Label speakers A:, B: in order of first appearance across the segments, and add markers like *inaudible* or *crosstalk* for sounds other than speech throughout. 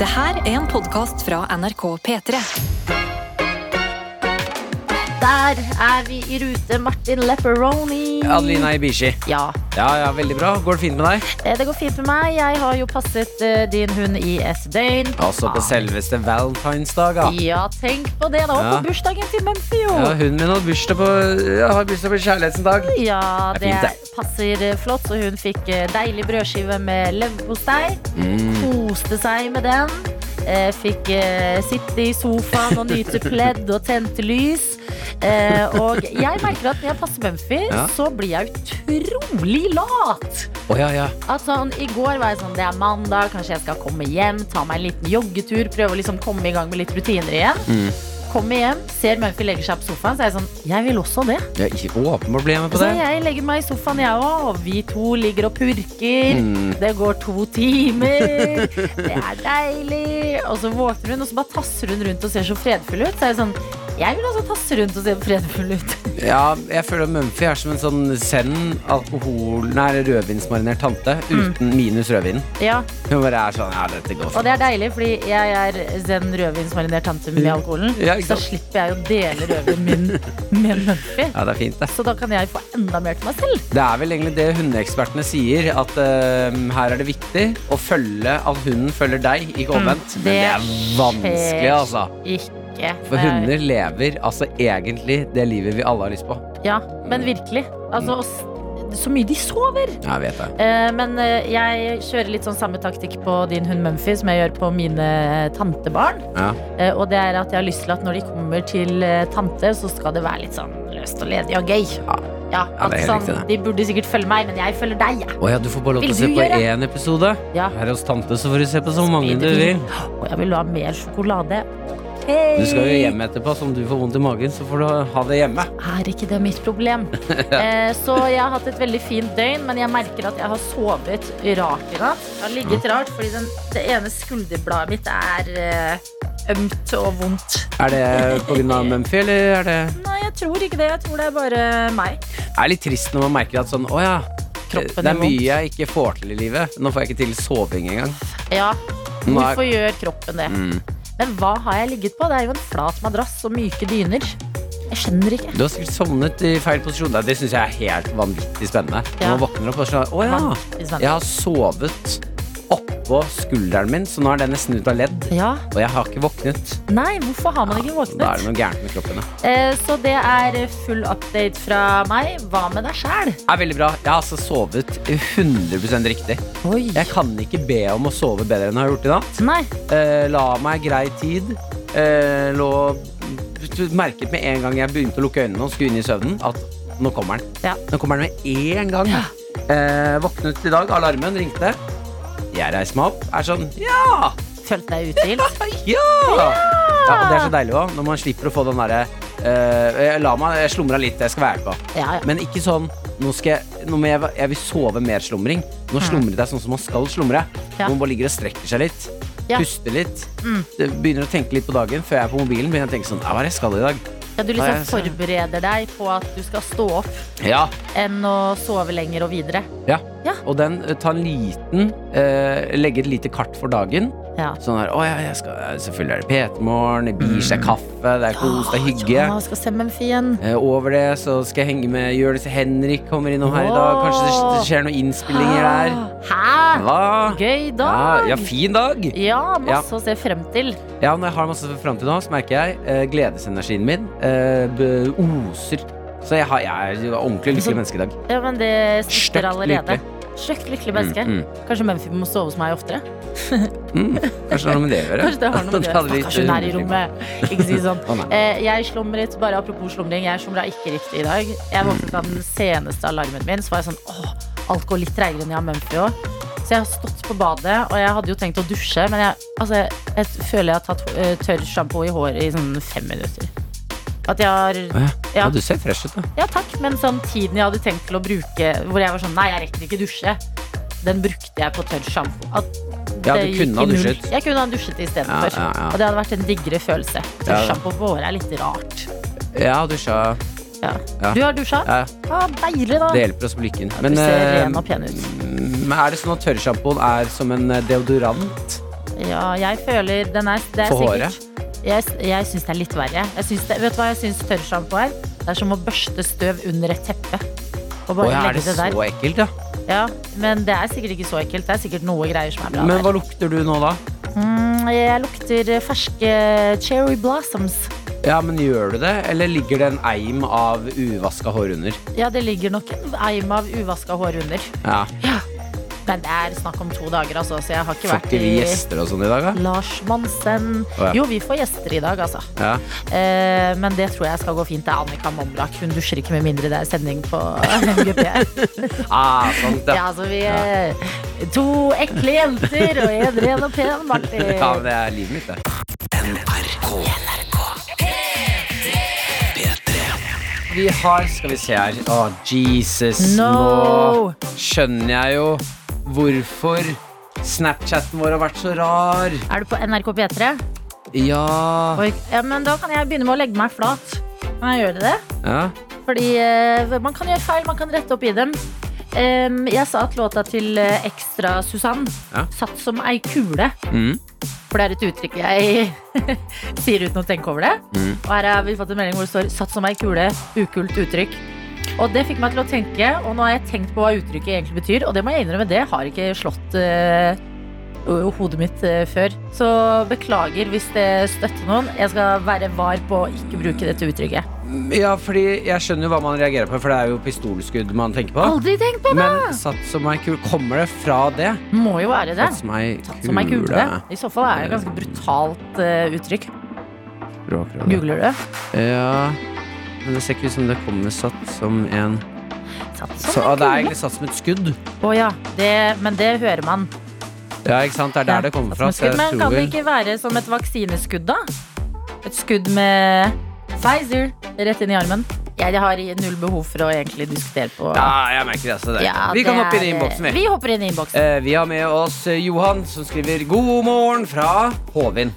A: Det her er en podkast fra NRK P3.
B: Der er vi i rute. Martin Lepperoni.
C: Adelina Ibishi.
B: Ja.
C: Ja, ja, veldig bra. Går det fint med deg?
B: Eh, Det går fint med meg. Jeg har jo passet eh, din hund i et døgn.
C: Også på selveste valentinsdag. Ja.
B: Ja, tenk på det. Det var
C: Ja.
B: på bursdagen til Mumphy, jo.
C: Ja, hunden min hadde bursdag på, ja, har bursdag på kjærlighetens dag.
B: Ja,
C: Det
B: det
C: er fint,
B: passer eh, flott. Så hun fikk eh, deilig brødskive med leverpostei.
C: Mm.
B: Koste seg med den. Eh, Fikk eh, sitte i sofaen og nyte pledd og tente lys. Eh, og jeg merker at når jeg passer Mumphy,
C: Ja.
B: så blir jeg utrolig lat.
C: Å, ja, ja.
B: At sånn, I går var jeg sånn Det er mandag, kanskje jeg skal komme hjem, ta meg en liten joggetur, prøve å liksom komme i gang med litt rutiner igjen.
C: Mm.
B: Kommer hjem, ser Mumphy legger seg på sofaen, så er jeg sånn Jeg vil også det.
C: Jeg har ikke åpenbart ble med på
B: Så
C: det.
B: jeg legger meg i sofaen, jeg òg, og vi to ligger og purker.
C: Mm.
B: Det går to timer, det er deilig. Og så våkner hun, og så bare tasser hun rundt og ser så fredfull ut. Så er jeg sånn Jeg vil også tasse rundt og se fredfull ut.
C: Ja, jeg føler at Mumphy er som en sånn zen alkohol... Nei, rødvinsmarinert tante uten minus rødvin.
B: Ja,
C: Hun bare er sånn Ja, dette
B: Mm.
C: går
B: Og
C: fint.
B: det er deilig, fordi jeg er zen rødvinsmarinert tante med alkoholen.
C: Ja, ikke
B: Så
C: sant?
B: slipper jeg å dele rødvinen min med Mumphy.
C: Ja, det er fint, det.
B: Så da kan jeg få enda mer til meg selv.
C: Det er vel egentlig det hundeekspertene sier, at eh, her er det viktig å følge at hunden følger deg, ikke
B: Mm.
C: omvendt. Men det er vanskelig, altså.
B: Ikke.
C: For hunder lever altså egentlig det livet vi alle har lyst på.
B: Eh, Ja, men virkelig. Altså, og s- så mye de sover.
C: Jeg vet det.
B: Eh, men eh, jeg kjører litt sånn samme taktikk på din hund Mumphy som jeg gjør på mine tantebarn.
C: Ja.
B: Eh, og det er at jeg har lyst til at når de kommer til eh, tante, så skal det være litt sånn løst og ledig og gøy.
C: Ja.
B: Ja,
C: Ja,
B: at
C: det er helt
B: sånn,
C: riktig, det.
B: De burde sikkert følge meg, men jeg følger deg. jeg.
C: Å ja, du får bare lov til
B: Vil
C: å se
B: du
C: på
B: gjøre?
C: én episode.
B: Ja.
C: Her hos tante så får du se på så mange du vil.
B: Og jeg vil ha mer sjokolade.
C: Du skal jo
B: Hei!
C: hjem etterpå, så om du får vondt i magen, så får du ha det hjemme.
B: er ikke det mitt
C: *laughs*
B: problem. eh, så jeg har hatt et veldig fint døgn, men jeg merker at jeg har sovet rart i natt. Jeg har ligget rart, fordi den, det ene skulderbladet mitt er eh, ømt og vondt.
C: Er det pga. Mumphy, eller er det
B: Nei, jeg tror ikke det. Jeg tror det er bare meg.
C: Det er litt trist når man merker at sånn, å ja.
B: Kroppen
C: det
B: gjør
C: er
B: vondt.
C: mye jeg ikke får til i livet. Nå får jeg ikke til soving engang.
B: Ja,
C: Nå Mm. er- Mm.
B: hvorfor gjør kroppen det? Men hva har jeg ligget på? Det er jo en flat madrass og myke dyner. Jeg skjønner ikke.
C: Du har sikkert sovnet i feil posisjon. Nei, Det syns jeg er helt vanvittig spennende.
B: Ja.
C: Når man våkner opp og sånn Å ja.
B: Vanvittig spennende.
C: Jeg har sovet oppå skulderen min, så nå er den nesten ut av ledd.
B: Ja,
C: Og jeg har ikke våknet.
B: Nei, hvorfor har man ikke våknet?
C: Da er det noe gærent med kroppen. ja.
B: Eh, så det er full update fra meg. Hva med deg sjæl?
C: Det er veldig bra. Jeg har altså sovet 100 riktig. Jeg kan ikke be om å sove bedre enn jeg har gjort i natt.
B: Nei.
C: Eh, la meg grei tid. Eh, lå Merket med en gang jeg begynte å lukke øynene og skulle inn i søvnen, at nå kommer den.
B: Ja.
C: Nå kommer den med en gang. Eh, våknet i dag, alarmen ringte. Jeg reiser meg opp, er sånn Ja!
B: Følte deg
C: *laughs*
B: uthvilt?
C: Ja! ja! Og det er så deilig òg, når man slipper å få den derre eh, jeg La meg, jeg slumra litt, jeg skal være på.
B: Ja, ja.
C: Men ikke sånn nå skal jeg, nå må jeg, jeg vil sove mer slumring. Nå slumrer det er sånn som man skal slumre.
B: Mm. Ja.
C: Man bare ligger og strekker seg litt.
B: Ja. Mm.
C: Puster litt. Det Begynner å tenke litt på dagen før jeg er på mobilen. Begynner jeg å tenke sånn, ja, Hva er det jeg skal i dag?
B: ja du
C: Ja,
B: liksom
C: jeg ser det.
B: forbereder deg på at du skal stå opp
C: Ja,
B: enn å sove lenger og videre.
C: ja.
B: Ja.
C: Og den eh, ta en liten eh, Legge et lite kart for dagen.
B: Ja.
C: Sånn her, å ja, jeg skal, Selvfølgelig er det P3morgen, det blir seg kaffe, det er kos, det er hygge.
B: Mm. Ja, vi skal se Mumphy igjen.
C: Eh, Over det så skal jeg henge med Jonis Henrik kommer innom her i dag. Kanskje det det skjer noen innspillinger der.
B: Hæ?
C: Hva?
B: Gøy Ah.
C: Ja,
B: dag!
C: ja, fin dag!
B: Ja, masse å se frem til.
C: Ja, når jeg har masse fram til nå, så merker jeg eh, gledesenergien min eh, b- oser. Så jeg, har, jeg er jo ordentlig lykkelig Mm, menneske i dag.
B: Ja, men det
C: Støkt
B: sitter allerede.
C: lykkelig.
B: Støkt lykkelig menneske.
C: Mm,
B: Kanskje Mumphy må sove hos meg
C: *laughs*
B: oftere?
C: Mm. Kanskje det har noe med det å gjøre.
B: Kanskje det har noe med det.
C: hadde vi
B: Stakkars hun her i
C: ikke-
B: rommet. Ikke si sånn.
C: *laughs* Å, nei.
B: Eh, jeg slumret, bare apropos slumring, jeg slumra ikke riktig i dag. Jeg våknet av den seneste alarmen min, så var jeg sånn åh, alt går litt treigere enn jeg har Mumphy òg. Så jeg har stått på badet, og jeg hadde jo tenkt å dusje, men jeg, altså, jeg, jeg føler jeg har tatt eh, tørr sjampo i håret i sånn fem minutter. At jeg har
C: Å, ja.
B: Ja.
C: ja, du ser fresh ut, da.
B: Ja takk, men sånn tiden jeg hadde tenkt til å bruke, hvor jeg var sånn nei, jeg rekker ikke dusje, den brukte jeg på tørr sjampo. At
C: Ja,
B: det
C: du
B: gikk
C: kunne ha
B: i null.
C: dusjet.
B: Jeg kunne ha dusjet istedenfor.
C: Ja, ja, ja.
B: Og det hadde vært en diggere følelse.
C: Ja.
B: Tørrsjampo på håret er litt rart.
C: Ja, dusja
B: Ja.
C: Ja.
B: Du har dusja?
C: Ja,
B: Ah, deilig, da.
C: det hjelper oss på lykken.
B: Du
C: Men
B: ser
C: eh,
B: ren og pen ut.
C: mm, er det sånn at tørrsjampoen er som en eh, deodorant
B: Ja, jeg føler den er, det er
C: for
B: sikkert-
C: håret?
B: Jeg, jeg syns det er litt verre. Jeg synes det, vet du hva jeg syns tørrsjampo er? Det er som å børste støv under et teppe. Og
C: Å,
B: bare
C: ja, er
B: legge
C: det
B: det
C: så
B: der.
C: ekkelt, ja?
B: Ja, men det er sikkert ikke så ekkelt. Det er sikkert noe greier som er bra
C: Men
B: der.
C: hva lukter du nå, da?
B: Mm, jeg lukter ferske cherry blossoms.
C: Ja, men gjør du det, eller ligger det en eim av uvaska hår under?
B: Ja, det ligger nok en eim av uvaska hår under.
C: Ja,
B: Men det er snakk om to dager, altså, så jeg har ikke
C: Får
B: vært
C: ikke vi
B: i
C: gjester og sånn i dag, da?
B: Lars Monsen.
C: Å, ja.
B: Jo, vi får gjester i dag, altså.
C: Ja.
B: Eh, men det tror jeg skal gå fint. Det er Annika Momlak. Hun dusjer ikke med mindre det er sending på *laughs* MGP.
C: Ah, sant,
B: Ja,
C: ja.
B: altså vi er to ekle jenter og en ren og pen, Martin.
C: ja, men det er livet mitt, det. Vi har Skal vi se her. Å, Jesus.
B: No!
C: Nå skjønner jeg jo hvorfor Snapchaten vår har vært så rar.
B: Er du på NRK P3?
C: Ja.
B: Oi, ja, men da kan jeg begynne med å legge meg flat. Kan jeg gjøre det?
C: ja.
B: Fordi eh, man kan gjøre feil, man kan rette opp i dem. Em, jeg sa at låta til eh, Ekstra Susann
C: Ja.
B: satt som ei kule.
C: Mm.
B: For det er et uttrykk jeg *laughs* sier uten å tenke over det.
C: Mm.
B: Og her har vi fått en melding hvor det står 'satt som ei kule', ukult uttrykk. Og det fikk meg til å tenke, og nå har jeg tenkt på hva uttrykket egentlig betyr. Og det må jeg innrømme, det har ikke slått eh, o- hodet mitt eh, før. Så beklager hvis det støtter noen. Jeg skal være var på å ikke bruke dette uttrykket.
C: ja, fordi jeg skjønner jo hva man reagerer på, for det er jo pistolskudd man tenker på.
B: Aldri tenkt på det!
C: Men satt som ei kul Kommer det fra det?
B: Må jo være det.
C: Satt som ei
B: Satt som ei kule. I så fall er det et ganske brutalt eh, uttrykk.
C: Språkrådet.
B: Googler du?
C: Ja Men det ser ikke ut som det kommer satt som en
B: Satt som
C: så,
B: ei
C: ah, Det er
B: kule.
C: egentlig satt som et skudd.
B: Å ja. Det, men det hører man.
C: Ja, ikke sant? Det er der det kommer fra.
B: Satt som et skudd, men kan det ikke være som et vaksineskudd, da? Et skudd med Pfizer rett inn i armen. Jeg har null behov for å egentlig diskutere på
C: Ja, jeg merker det. Så det.
B: Ja,
C: vi kan
B: det
C: hoppe inn i
B: er-
C: innboksen, vi.
B: Vi hopper inn i innboksen.
C: Eh, vi har med oss eh, Johan, som skriver 'God morgen' fra Håvin.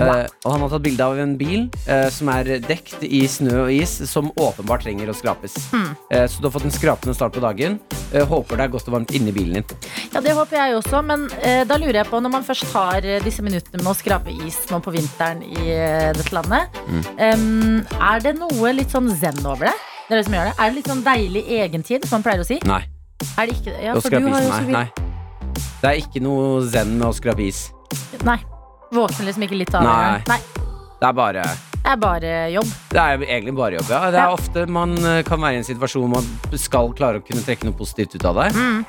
C: Eh, og han har tatt bilde av en bil eh, som er dekt i snø og is, som åpenbart trenger å skrapes.
B: Hmm.
C: Eh, så du har fått en skrapende start på dagen. Eh, håper det er godt og varmt inni bilen din.
B: Ja, Det håper jeg også, men eh, da lurer jeg på, når man først har eh, disse minuttene med å skrape is nå på vinteren i eh, dette landet,
C: Mm.
B: em, er det noe litt sånn zen over det? Dere som gjør det? Er det litt sånn deilig egentid, som man pleier å si?
C: Nei.
B: Er det ikke det? Ja,
C: å
B: for du
C: skrape
B: har jo
C: isen,
B: så
C: nei.
B: vidt-
C: nei. Det er ikke noe zen med å skrape is.
B: Nei. Våkner liksom ikke litt av det?
C: Nei.
B: Nei.
C: Det er bare
B: Det er bare jobb.
C: Det er egentlig bare jobb, ja. Det er
B: Ja.
C: ofte man eh, kan være i en situasjon hvor man skal klare å kunne trekke noe positivt ut av det. Nei.
B: Mm.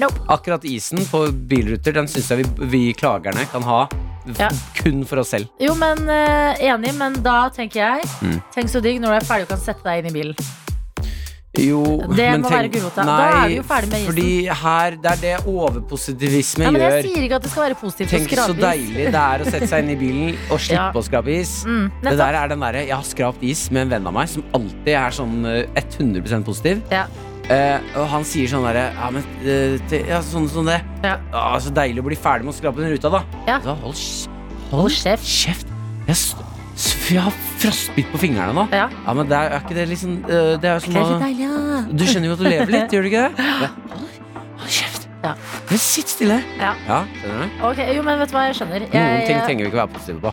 B: Nope.
C: Akkurat isen på bilruter, den syns jeg vi, vi klagerne kan ha f-
B: Ja.
C: kun for oss selv.
B: Jo, men eh, enig, men da tenker jeg
C: Mm.
B: Tenk så digg når du er ferdig og kan sette deg inn i bilen.
C: Jo,
B: Det må være gulrota. Da er vi jo ferdig med isen.
C: Fordi her, det er det overpositivisme
B: Ja, men jeg
C: gjør.
B: sier ikke at det skal være positivt
C: Tenk
B: å skrape
C: så
B: is.
C: deilig det er å sette seg inn i bilen og
B: *laughs* Ja.
C: slippe å skrape is.
B: Mm,
C: Det
B: nettopp.
C: der er den derre Jeg har skrapt is med en venn av meg som alltid er sånn eh, 100 positiv.
B: Ja.
C: Eh, og han sier sånn derre Ja, men eh, til, ja, sånn som det.
B: Ja.
C: Ah, så deilig å bli ferdig med å skrape den ruta, da.
B: Ja.
C: Så, hold, kj-
B: Hold kjeft.
C: Jeg, s- s- jeg har frostbitt på fingrene nå.
B: Ja.
C: Ja, men det er, er ikke det liksom eh, Det er jo som
B: Det er litt
C: å
B: deilig, ja.
C: Du skjønner jo at du lever
B: *laughs*
C: litt, gjør du ikke det? Ja. Hold, hold kjeft.
B: Ja.
C: Men Sitt stille.
B: Ja.
C: skjønner du?
B: Ok, jo, men vet du hva, jeg skjønner. Jeg,
C: Noen ting
B: jeg-
C: trenger vi ikke være positive på.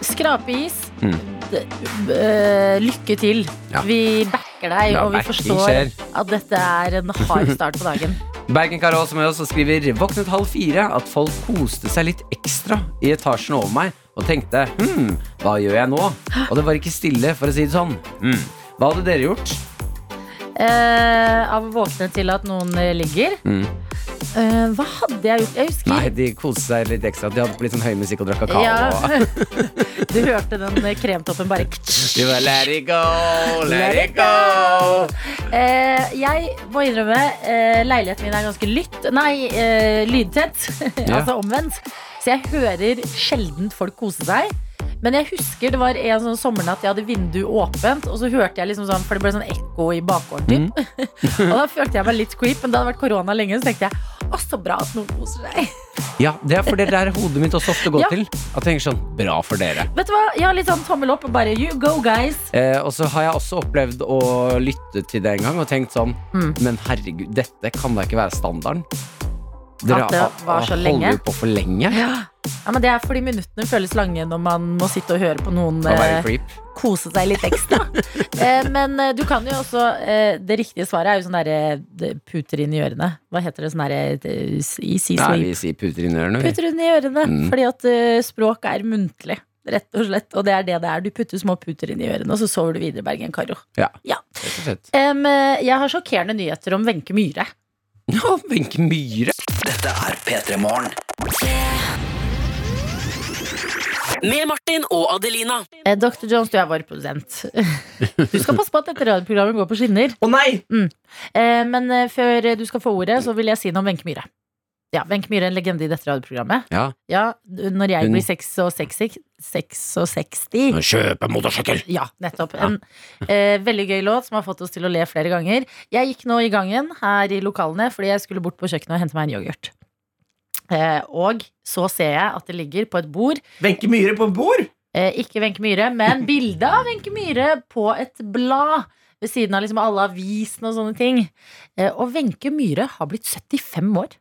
B: Skrape is.
C: Mm.
B: D- øh, lykke til.
C: Ja.
B: Vi backer deg,
C: Ja,
B: og vi
C: backing
B: forstår
C: skjer.
B: at dette er en hard start på
C: *laughs*
B: dagen.
C: Bergen Karo også med oss og skriver Våknet halv fire at folk koste seg litt ekstra i etasjen over meg og tenkte hm, hva gjør jeg nå? Og det var ikke stille, for å si det sånn. «Hm, Hva hadde dere gjort?
B: Eh, av å våkne til at noen eh, ligger.
C: Mm.
B: Eh, hva hadde jeg gjort? Jeg husker
C: Nei, de koste seg litt ekstra. De hadde på litt sånn høy musikk og drakk kakao. og-
B: Ja. *laughs* Du hørte den eh, kremtoppen bare
C: De bare let it go, let it go.
B: eh, Jeg må innrømme, eh, leiligheten min er ganske lytt Nei, eh, lydtett. *laughs*
C: Ja.
B: altså omvendt. Så jeg hører sjelden folk kose seg. Men jeg husker det var en sånn sommernatt jeg hadde vinduet åpent, og så hørte jeg liksom sånn, for det ble sånn ekko i bakgården, typ. *laughs* og da følte jeg meg litt creep, men det hadde vært korona lenge, så tenkte jeg å, så bra at noen koser seg. *laughs*
C: Ja, det er for det der hodet mitt også ofte går
B: Ja.
C: til. At jeg tenker sånn Bra for dere.
B: Vet du hva, jeg har litt sånn tommel opp og bare you go, guys.
C: Eh, og så har jeg også opplevd å lytte til det en gang og tenkt sånn
B: Mm.
C: Men herregud, dette kan da ikke være standarden?
B: At det var så
C: holder
B: lenge?
C: jo på for lenge.
B: Ja. men Det er fordi minuttene føles lange når man må sitte og høre på noen
C: Å være
B: eh,
C: creep.
B: kose seg litt
C: *laughs*
B: ekstra. eh, men eh, du kan jo også eh, Det riktige svaret er jo sånn derre eh, puter inn i ørene. Hva heter det? Sånn derre i sea
C: Nei,
B: sleep.
C: vi sier puter inn i ørene, vi.
B: Putter inn i ørene.
C: Mm.
B: Fordi at eh, språk er muntlig. Rett og slett. Og det er det det er. Du putter små puter inn i ørene, og så sover du videre, Bergen Karo.
C: Rett og slett. *laughs*
B: Em, eh, jeg har sjokkerende nyheter om Wenche Myhre.
C: Ja, Wenche Myhre.
D: Dette er P3 Morgen. Med Martin og Adelina.
B: Eh, Dr. Jones, du er vår produsent. Du skal passe på at dette radioprogrammet går på skinner.
C: Å nei!
B: Eh, Men eh, før eh, du skal få ordet, så vil jeg si noe om Wenche Myhre. Ja, Wenche Myhre er en legende i dette radioprogrammet.
C: Ja.
B: Ja, Når jeg
C: Hun-
B: blir 66 66
C: Kjøpe motorsykkel!
B: Ja, nettopp. En eh, veldig gøy låt som har fått oss til å le flere ganger. Jeg gikk nå i gangen her i lokalene fordi jeg skulle bort på kjøkkenet og hente meg en yoghurt. Eh, og så ser jeg at det ligger på et bord
C: Wenche Myhre på bord!
B: Eh, ikke Wenche Myhre, men bilde av Wenche Myhre på et blad. Ved siden av liksom alle avisene og sånne ting. Eh, og Wenche Myhre har blitt 75 år.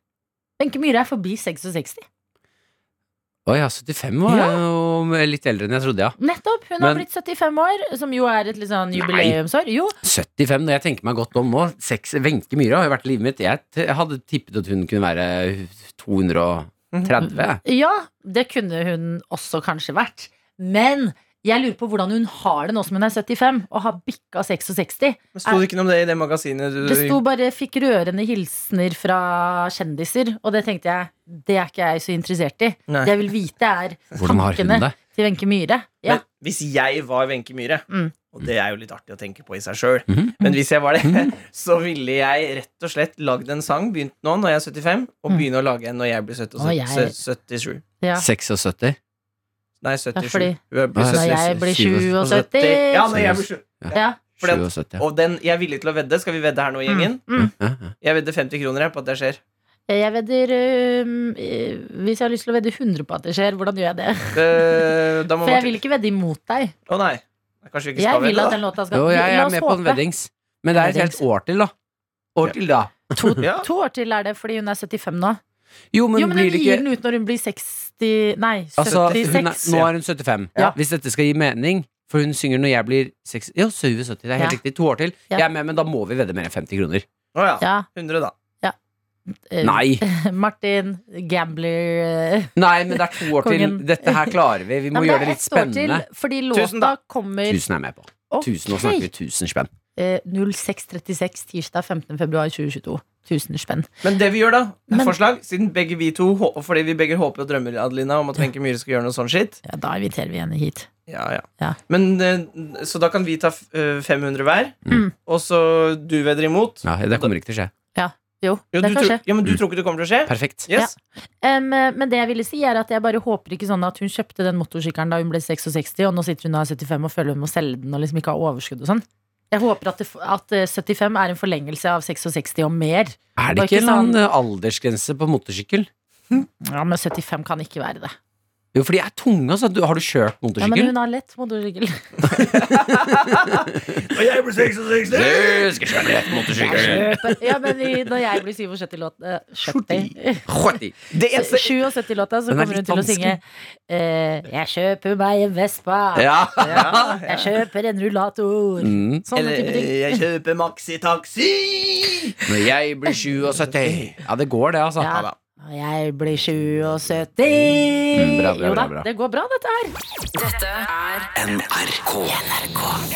B: Wenche Myhre er forbi 66.
C: Å ja, 75 var jeg jo litt eldre enn jeg trodde, ja.
B: Nettopp! Hun
C: Men-
B: har blitt 75 år, som jo er et litt sånn jubileumsår. Jo,
C: 75, når jeg tenker meg godt om nå. Seks, Wenche Myhre har jo vært i livet mitt. Jeg, t jeg hadde tippet at hun kunne være
B: Mhm.
C: 230.
B: ja, det kunne hun også kanskje vært. Men jeg lurer på hvordan hun har det nå som hun er 75 og har bikka 66.
E: Men Sto det ikke noe om det i det magasinet? Du,
B: Det sto bare 'fikk rørende hilsener fra kjendiser', og det tenkte jeg det er ikke jeg så interessert i.
E: Nei.
B: Det jeg vil vite, er
C: Hvordan har hun
B: tankene
C: det?
B: til Wenche Myhre. Ja.
E: Men hvis jeg var Wenche Myhre,
B: Mm.
E: og det er jo litt artig å tenke på i seg sjøl,
C: Mhm.
E: men hvis jeg var det, *laughs* så ville jeg rett og slett lagd en sang, begynt nå når jeg er 75, og
B: Mm.
E: begynne å lage en når jeg blir 70,
B: Å, jeg-
E: 77.
B: ja.
C: 76?
E: Nei,
B: Ja,
E: 77.
B: fordi-
E: Hun er- blir
C: Nei,
B: Når
E: 77.
B: jeg blir
C: 77.
B: 77
E: Ja, når jeg blir 77.
B: ja.
E: For den-
C: 77, ja.
E: Og den jeg er villig til å vedde. Skal vi vedde her nå, gjengen?
B: Mm.
C: Ja, ja.
E: Jeg vedder 50 kroner jeg på at det skjer.
B: Jeg vedder øhm, øh, Hvis jeg har lyst til å vedde 100 på at det skjer, hvordan gjør jeg det?
E: Eh, da må
B: For jeg vil
E: Martin
B: ikke vedde imot deg.
E: Å nei. Kanskje vi ikke skal
B: Jeg vil at
E: vedde,
B: den
E: da?
B: låta skal
C: Jo, jeg
B: La
C: er
B: oss
C: med på en
B: håpe.
C: veddings. Men det er et helt år til, da. År til, da.
B: To,
E: Ja.
B: to år til er det, fordi hun er 75 nå.
C: Jo, men,
B: jo, men hun
C: blir det ikke
B: gir den ut når hun blir 60 Nei, 76.
C: Altså, hun er, nå
E: ja.
C: er hun 75.
B: Ja.
C: Hvis dette skal gi mening, for hun synger når jeg blir 60 Jo, 77. Det er helt
B: Ja.
C: riktig. To år til.
B: Ja.
C: Jeg er med, men da må vi vedde mer enn 50 kroner.
E: Å ja.
B: ja,
E: 100, da.
B: øh,
C: Nei!
B: *laughs* Martin, gambler øh,
C: Nei, men det er to år
B: *laughs*
C: til.
B: Kongen.
C: Dette her klarer vi. Vi må
B: Nei, men
C: gjøre det
B: er
C: litt
B: ett år til,
C: spennende.
B: fordi låta
E: Tusen da.
B: kommer
C: Tusen er jeg med på.
B: Ok.
C: Tusen, nå snakker vi tusen spenn.
B: Eh, 06.36 tirsdag 15. februar 2022. Tusen spenn.
E: Men det vi gjør, da, er
B: Men-
E: forslag, siden begge vi to hå- Fordi vi begge håper og drømmer Adelina om at Wenche Myhre skal gjøre noe sånn shit.
B: Ja, da inviterer vi henne hit.
E: Ja, ja.
B: Ja.
E: Men, eh, så da kan vi ta f- eh, 500 hver,
B: Mm.
E: og så du vedder imot.
C: Ja, det kommer ikke til å skje.
B: Jo,
E: Jo,
B: det
E: du
B: kan skje.
E: tror, ja, men du tror ikke det kommer til å skje?
C: Perfekt.
E: Yes.
B: Em, eh, men det jeg ville si, er at jeg bare håper ikke sånn at hun kjøpte den motorsykkelen da hun ble 66, og nå sitter hun og er 75 og føler hun må selge den og liksom ikke har overskudd og sånn. Jeg håper at, det, f- at eh, 75 er en forlengelse av 66 og mer.
C: Er
B: Det var
C: det ikke
B: ikke sånn-
C: en eller annen aldersgrense på motorsykkel?
B: Ja, Men 75 kan ikke være det.
C: Jo, for de er tunge, altså. Du- Har du
B: Ja,
C: kjørt
B: men
C: motorsykkel?
B: hun har lett motorsykkel.
E: *laughs* Og jeg blir 66!
C: Du skal kjøre lett motorsykkel!
B: Ja, men i, når jeg blir eh, 77-låta 70
C: Hotti.
E: Det eneste
B: 77-låta, så
C: Den er
B: kommer hun
C: litt
B: til å synge
C: vanskelig.
B: eh, Jeg kjøper meg en Vespa, *laughs*
C: Ja.
B: jeg kjøper en rullator.
C: Mm.
B: Sånne
E: Eller eh,
B: type ting.
E: jeg kjøper maxitaxi!
C: Når jeg blir 77 Ja, det går det, altså.
B: Ja. Og jeg blir 77
C: bra, bra,
B: Jo da,
C: bra, bra.
B: det går bra, dette her.
D: NRK.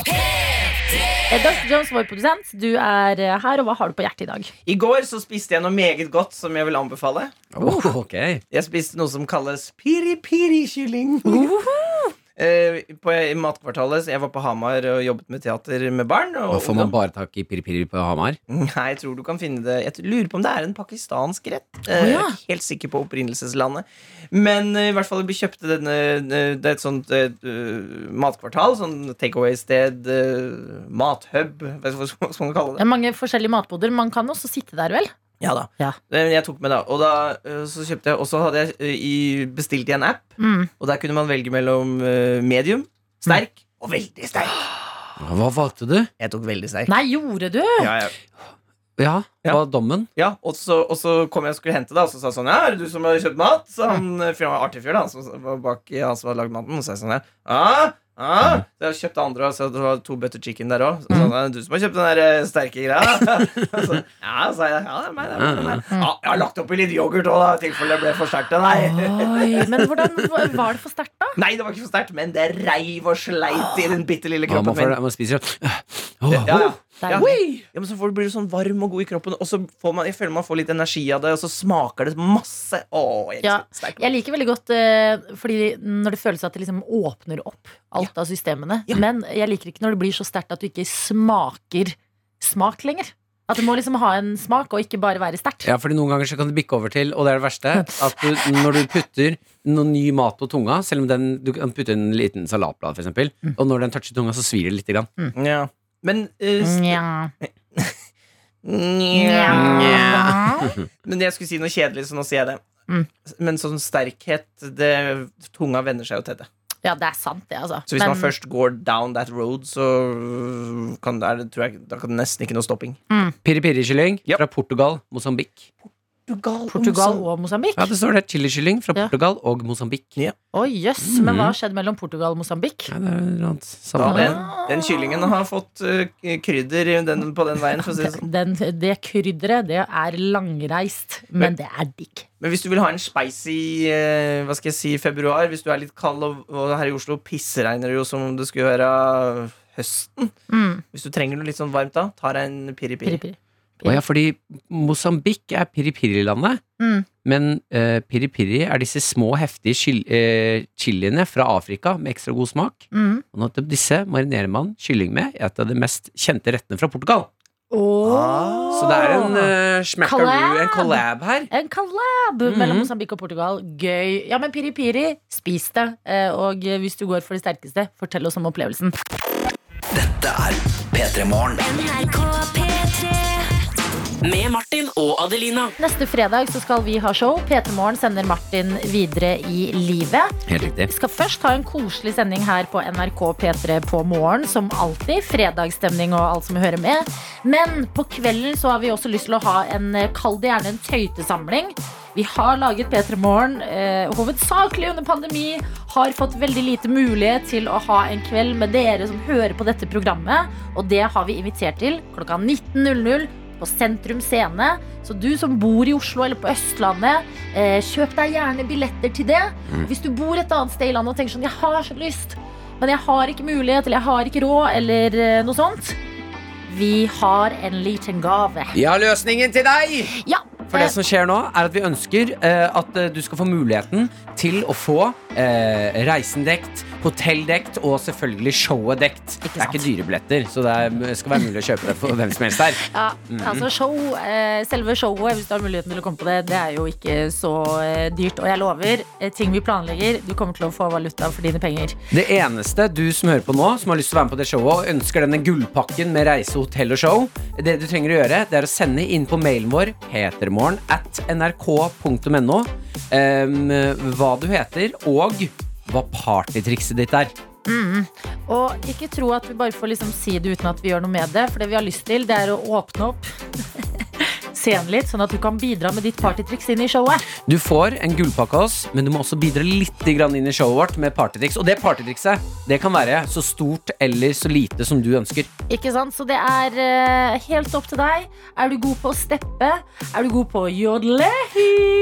B: Eh, Dr. Jones, vår produsent, du er eh, her, og hva har du på hjertet i dag?
E: I går så spiste jeg noe meget godt som jeg vil anbefale.
C: Oh, ok.
E: Jeg spiste noe som kalles piri-piri-kylling. eh, på, i Matkvartalet. så Jeg var på Hamar og jobbet med teater med barn. Og
C: Da får man bare tak i piripiri på Hamar.
E: *laughs* Nei, jeg tror du kan finne det Jeg lurer på om det er en pakistansk rett.
B: Å,
E: Eh, Jeg
B: ja.
E: er ikke helt sikker på opprinnelseslandet. Men eh, i hvert fall vi kjøpte denne eh, Det er et sånt eh, eh, matkvartal. Sånn takeaway-sted. eh, mathub, hva skal hva skal man kalle
B: Det
E: det?
B: er mange forskjellige matboder. Man kan også sitte der, vel?
E: Ja da.
B: Ja.
E: Eh, Jeg tok med, da. Og da eh, så kjøpte jeg Og så hadde jeg eh, i, bestilt i en app,
B: Mm.
E: og der kunne man velge mellom eh, medium, sterk Mm. og veldig sterk.
C: Hva valgte du?
E: Jeg tok veldig sterk.
B: Nei, gjorde du?
E: Ja, ja.
C: Ja,
E: Ja.
C: hva var dommen?
E: Ja, og så, og så kom jeg og skulle hente det, og så sa jeg sånn Ja, er det du som har kjøpt mat? Så han eh, fyren var artig fyr, da, han som var bak eh, han som hadde lagd maten. Og så sa jeg sånn ja, ah, ah. Så jeg kjøpte andre, og så det var to butter chicken der òg. Så sa han «Er det du som har kjøpt den der eh, sterke greia. *laughs* så, ja, sa jeg. Ja, det er meg, det er meg, det er meg.
C: Mm.
E: Ja, jeg har lagt oppi litt yoghurt òg, i tilfelle det ble for sterkt. Nei.
B: Oi, men hvordan var det for sterkt, da?
E: nei, det var ikke for sterkt, men det reiv og sleit i den bitte lille
C: Ja, man,
E: kroppen
C: får,
E: min.
C: man spiser jo
E: Ja, ja.
B: Deilig.
E: Ja, men så får du, blir du sånn varm og god i kroppen, og så får man, jeg føler man får litt energi av det, og så smaker det masse. Åh, jeg elsker
B: Ja,
E: sterk
B: Jeg liker veldig godt eh, Fordi når det føles at det liksom åpner opp alt av systemene. Men jeg liker ikke når det blir så sterkt at du ikke smaker smak lenger. At det må liksom ha en smak, og ikke bare være sterkt.
C: Ja, fordi noen ganger så kan det bikke over til, og det er det verste, at du, når du putter noe ny mat på tunga, selv om den, du kan putte en liten salatblad, for eksempel, og når den toucher tunga, så svir det litt. Grann.
E: Ja. Men, eh, s-
B: Nja.
E: Nja.
B: Nja.
E: Men jeg skulle si noe kjedelig, så nå sier jeg det.
B: Mm.
E: Men sånn sterkhet det, Tunga venner seg jo til det.
B: Ja, det er sant, det, altså.
E: Så hvis man
B: Men-
E: først går down that road, så øh, kan det, er det, tror jeg, da kan det nesten ikke noe stopping.
C: Piri-piri-kylling
E: Ja.
C: fra Portugal, Mosambik.
E: Portugal,
B: Portugal og Mosambik?
C: Ja, det står der. Chili-kylling fra
B: Ja.
C: Portugal og Mosambik.
E: Ja.
B: Oi, jøss. Men
E: Mm.
B: hva har skjedd mellom Portugal og Mosambik?
C: Ja, det er et eller annet
E: ja,
C: samme.
E: den,
B: Ah.
E: den kyllingen har fått øh, krydder i den, på den veien. For å si det sånn.
B: Den, det krydderet, det er langreist, men det er digg.
E: Men hvis du vil ha en spicy eh, hva skal jeg si, februar, hvis du er litt kald og, og her i Oslo pissregner det jo som om det skulle være høsten
B: Mm.
E: Hvis du trenger noe litt sånn varmt da, ta deg en piri-piri.
B: Piri-piri.
C: Å ja, fordi Mosambik er piripiri-landet,
B: Mm.
C: men eh, piripiri er disse små, heftige chil eh, chiliene fra Afrika med ekstra god smak.
B: Mm.
C: Og nettopp disse marinerer man kylling med i et av de mest kjente rettene fra Portugal.
B: Åh.
C: Så det er en eh, smackaroo,
B: Collab!
C: en collab her.
B: Eh, En collab mellom Mosambik og Portugal. Gøy. Ja, men Piri Piri, spis det. Eh, Og hvis du går for det sterkeste, fortell oss om opplevelsen.
D: Dette er P3 Morgen. Med Martin og Adelina.
B: Neste fredag så skal vi ha show. PT Morgen sender Martin videre i livet.
C: Helt riktig.
B: Vi skal først ha en koselig sending her på NRK P3 på morgen, som alltid. Fredagsstemning og alt som hører med. Men på kvelden så har vi også lyst til å ha en, eh, kall det gjerne en tøytesamling. Vi har laget P3 Morgen eh, hovedsakelig under pandemi. Har fått veldig lite mulighet til å ha en kveld med dere som hører på dette programmet. Og det har vi invitert til klokka 19.00 på Sentrum Scene. Så du som bor i Oslo eller på Østlandet, eh, kjøp deg gjerne billetter til det.
C: Mm.
B: Hvis du bor et annet sted i landet og tenker sånn Jeg har så lyst, men jeg har ikke mulighet, eller jeg har ikke råd, eller eh, noe sånt. Vi har en liten gave.
C: Vi har løsningen til deg!
B: Ja, eh,
C: For det som skjer nå, er at vi ønsker eh, at eh, du skal få muligheten til å få eh, reisen dekt, hotell dekt og selvfølgelig showet dekt. Det er
B: sant.
C: ikke dyre billetter, så det er, skal være mulig å kjøpe det for hvem som helst her.
B: Ja,
C: Mm.
B: altså show, eh, selve showet, hvis du har muligheten til å komme på det, det er jo ikke så eh, dyrt. Og jeg lover, eh, ting vi planlegger, du kommer til å få valuta for dine penger.
C: Det eneste du som hører på nå, som har lyst til å være med på det showet og ønsker denne gullpakken med reise, hotell og show, det du trenger å gjøre, det er å sende inn på mailen vår petermorgen at nrk.no em, ehm, hva du heter, og hva partytrikset ditt er.
B: Og ikke tro at vi bare får liksom si det uten at vi gjør noe med det. For det vi har lyst til, det er å åpne opp *laughs* scenen litt, sånn at du kan bidra med ditt partytriks inn i showet.
C: Du får en gullpakke av oss, men du må også bidra litt grann inn i showet vårt med partytriks. Og det partytrikset det kan være så stort eller så lite som du ønsker.
B: Ikke sant? Så det er eh, helt opp til deg. Er du god på å steppe? Er du god på å jodle?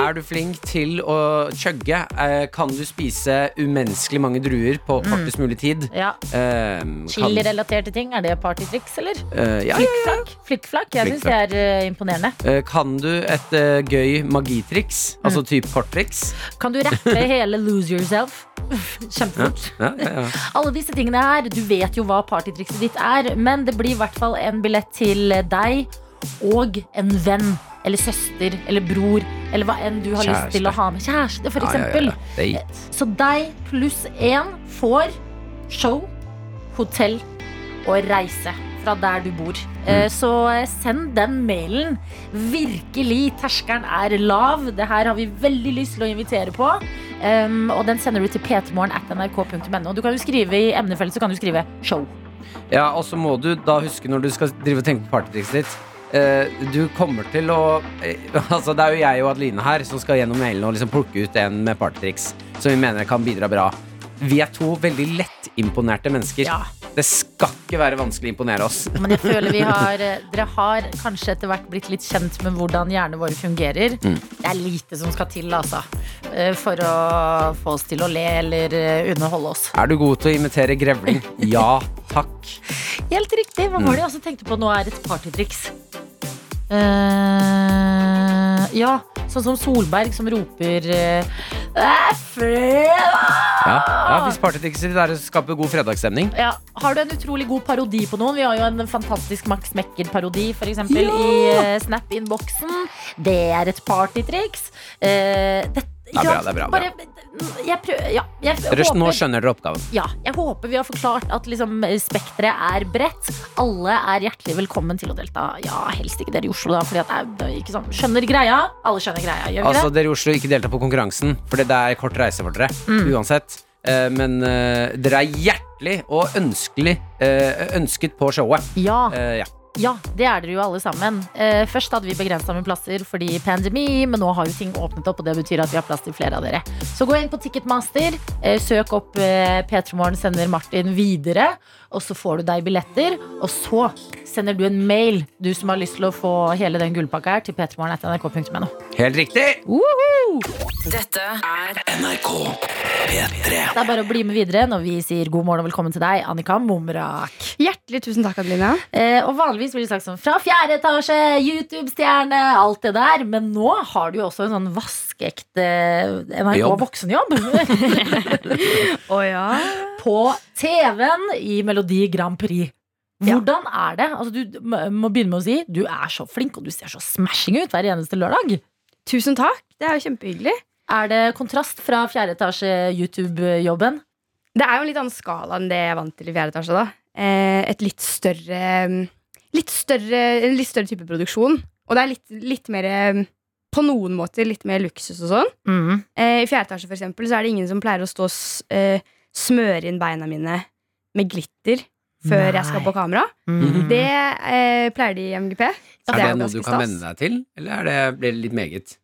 C: Er du flink til å chugge? Eh, Kan du spise umenneskelig mange druer på kortest mulig tid?
B: Ja.
C: Eh, kan-
B: Chili-relaterte ting, er det partytriks, eller?
C: Eh, ja, ja, ja.
B: Flikkflakk? Flikkflakk, jeg syns det er eh, imponerende.
C: Eh, eh, Kan du et eh, gøy magitriks? Altså type korttriks?
B: Kan du rappe hele Lose Yourself? *laughs* Kjempefort.
C: Ja, ja, ja.
B: Alle disse tingene her, du vet jo hva partytrikset ditt er, men det blir i hvert fall en billett til deg og en venn. Eller søster, eller bror, eller hva enn du har lyst til å
C: Kjæreste.
B: ha med. Kjæreste, for
C: Ja, ja, ja,
B: eksempel.
C: ja. Date.
B: Så deg pluss én får show, hotell og reise fra der du bor.
C: Mm.
B: Eh, Så eh, send den mailen. Virkelig, terskelen er lav. Det her har vi veldig lyst til å invitere på. Um, og den sender du til ptmorgen.nrk.no. Du kan jo skrive i emnefeltet så kan du skrive show.
C: Ja, og så må du da huske når du skal drive og tenke på partytrikset ditt eh, Du kommer til å eh, *laughs* Altså, det er jo jeg og Adeline her som skal gjennom mailen og liksom plukke ut en med partytriks som vi mener kan bidra bra. Vi er to veldig lettimponerte mennesker.
B: Ja.
C: Det skal ikke være vanskelig å imponere oss. *laughs*
B: Men jeg føler vi har eh, Dere har kanskje etter hvert blitt litt kjent med hvordan hjernene våre fungerer. Det er lite som skal til, altså. eh, For å få oss til å le eller eh, underholde oss.
C: Er du god til å imitere grevling? Ja takk.
B: Helt riktig. Hva var det jeg også tenkte på nå er et partytriks? Eh, ja, sånn som Solberg som roper eh, «Det er fredag!»
C: Ja, ja Hvis partytrikset ditt er å skape god fredagsstemning.
B: ja, Har du en utrolig god parodi på noen? Vi har jo en fantastisk Max Mekker-parodi for eksempel,
C: Ja!
B: i eh, Snap-innboksen. Det er et partytriks. Eh, det,
C: er bra, det er bra,
B: Bare, jeg prøver, ja, jeg
C: Rush, nå
B: håper-
C: skjønner dere oppgaven.
B: ja, jeg håper vi har forklart at liksom, spekteret er bredt. Alle er hjertelig velkommen til å delta. Ja, helst ikke dere i Oslo, da. Fordi at jeg, det er ikke sånn. Skjønner greia? Alle skjønner greia, gjør vi
C: Altså, dere i Oslo ikke delta på konkurransen, for det er kort reise for dere. Uansett. Eh, Men eh, dere er hjertelig og ønskelig eh, ønsket på showet.
B: det? Ja,
C: Eh, ja.
B: ja, det er dere jo alle sammen. Eh, først hadde vi begrensa med plasser fordi pandemi, men nå har jo ting åpnet opp, og det betyr at vi har plass til flere av dere. Så gå inn på Ticketmaster, eh, søk opp eh, P3morgen sender Martin videre, og så får du deg billetter. Og så sender du en mail, du som har lyst til å få hele den gullpakka her, til p3morgen.nrk.no.
C: Helt riktig!
F: Dette er
D: NRK P3
B: Det er bare å bli med videre når vi sier god morgen og velkommen til deg, Annika Momrak.
G: Hjertelig tusen takk, Adelina.
B: Eh, og vanligvis blir det sagt sånn fra fjerde etasje, YouTube-stjerne, alt det der. Men nå har du jo også en sånn vaskeekte eh, NRK
C: Jobb.
B: voksenjobb.
G: Å ja.
B: *laughs* På TV-en i Melodi Grand Prix. Hvordan er det? Altså, du må- må begynne med å si du er så flink og du ser så smashing ut hver eneste lørdag.
G: Tusen takk. Det er jo kjempehyggelig.
B: Er det kontrast fra fjerde etasje YouTube-jobben?
G: Det er jo en litt annen skala enn det jeg er vant til i fjerde etasje. da. Eh, et litt større, mm, litt større En litt større type produksjon. Og det er litt, litt mer eh, På noen måter litt mer luksus og sånn. Eh, I fjerde etasje for eksempel, så er det ingen som pleier å stå og s- eh, smøre inn beina mine med glitter før jeg skal
B: Nei.
G: på kamera.
B: Mhm.
G: Det eh, pleier de i MGP.
B: Ja,
C: Er det
G: jo
C: noe du
G: ganske
C: kan
G: stas.
C: venne deg til, eller er det, blir det litt meget?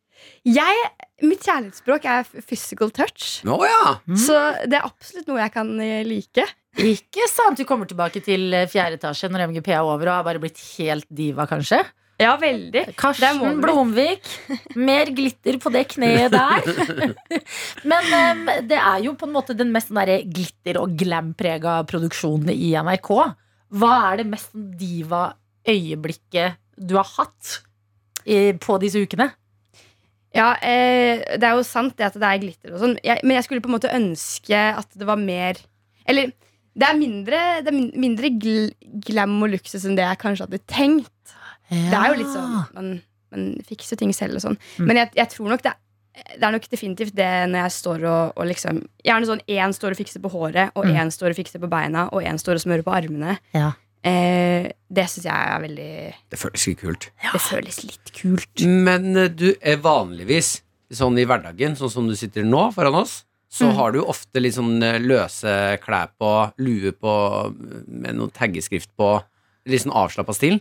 G: Jeg, Mitt kjærlighetsspråk er f- physical touch.
C: Å ja!
B: Mm.
G: Så det er absolutt noe jeg kan eh, like.
B: Ikke sant? Du kommer tilbake til eh, fjerde etasje når MGP er over og har bare blitt helt diva, kanskje?
G: Ja, veldig. Det må
B: Karsten
G: du.
B: Blomvik. Mer glitter på det kneet der.
G: *laughs*
B: Men em, det er jo på en måte den mest sånn derre glitter- og glam-prega produksjonen i NRK. Hva er det mest sånn diva-øyeblikket du har hatt i, på disse ukene?
G: Ja, eh, Det er jo sant det at det er glitter og sånn, jeg, men jeg skulle på en måte ønske at det var mer Eller det er mindre, det er min- mindre gl glam og luksus enn det jeg kanskje hadde tenkt. Det er jo litt sånn Man, man fikser ting selv og sånn.
B: Mm.
G: Men jeg, jeg tror nok det er det er nok definitivt det når jeg står og, og liksom Gjerne sånn én står og fikser på håret, og
B: Mm.
G: én står og fikser på beina, og én står og smører på armene.
B: Ja.
G: Eh, det syns jeg er veldig
C: Det føles ikke kult.
G: Det føles litt kult.
C: Men eh, du er vanligvis sånn i hverdagen, sånn som du sitter nå foran oss, så
B: Mm.
C: har du ofte litt sånn eh, løse klær på, lue på, med noe taggeskrift på, litt sånn avslappa stil.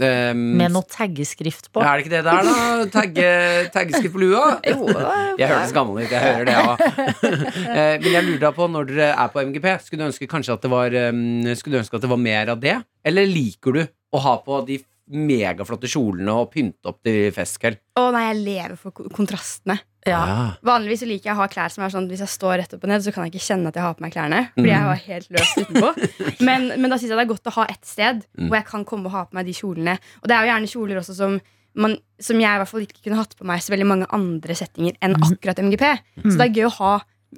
C: Um,
B: Med noe taggeskrift på.
C: Er det ikke det der, da? Tagge, taggeskrift på lua?
B: *laughs*
G: Jo, *laughs*
C: Jeg høres gammel ut, jeg hører det òg.
B: *laughs*
C: Men jeg lurer da på, når dere er på MGP, skulle du ønske kanskje at det var eh, Skulle du ønske at det var mer av det? Eller liker du å ha på de megaflotte kjolene og pynte opp til festkveld?
G: Å nei, jeg lever for ko- kontrastene.
B: Ja.
G: Vanligvis så liker jeg å ha klær som er sånn Hvis jeg står rett opp og ned, så kan jeg ikke kjenne at jeg har på meg klærne. Fordi jeg var helt løs utenpå Men, men da syns jeg det er godt å ha ett sted
C: Mm.
G: hvor jeg kan komme og ha på meg de kjolene. Og det er jo gjerne kjoler også som man, som jeg i hvert fall ikke kunne hatt på meg så veldig mange andre settinger enn akkurat MGP. Så det er gøy å ha,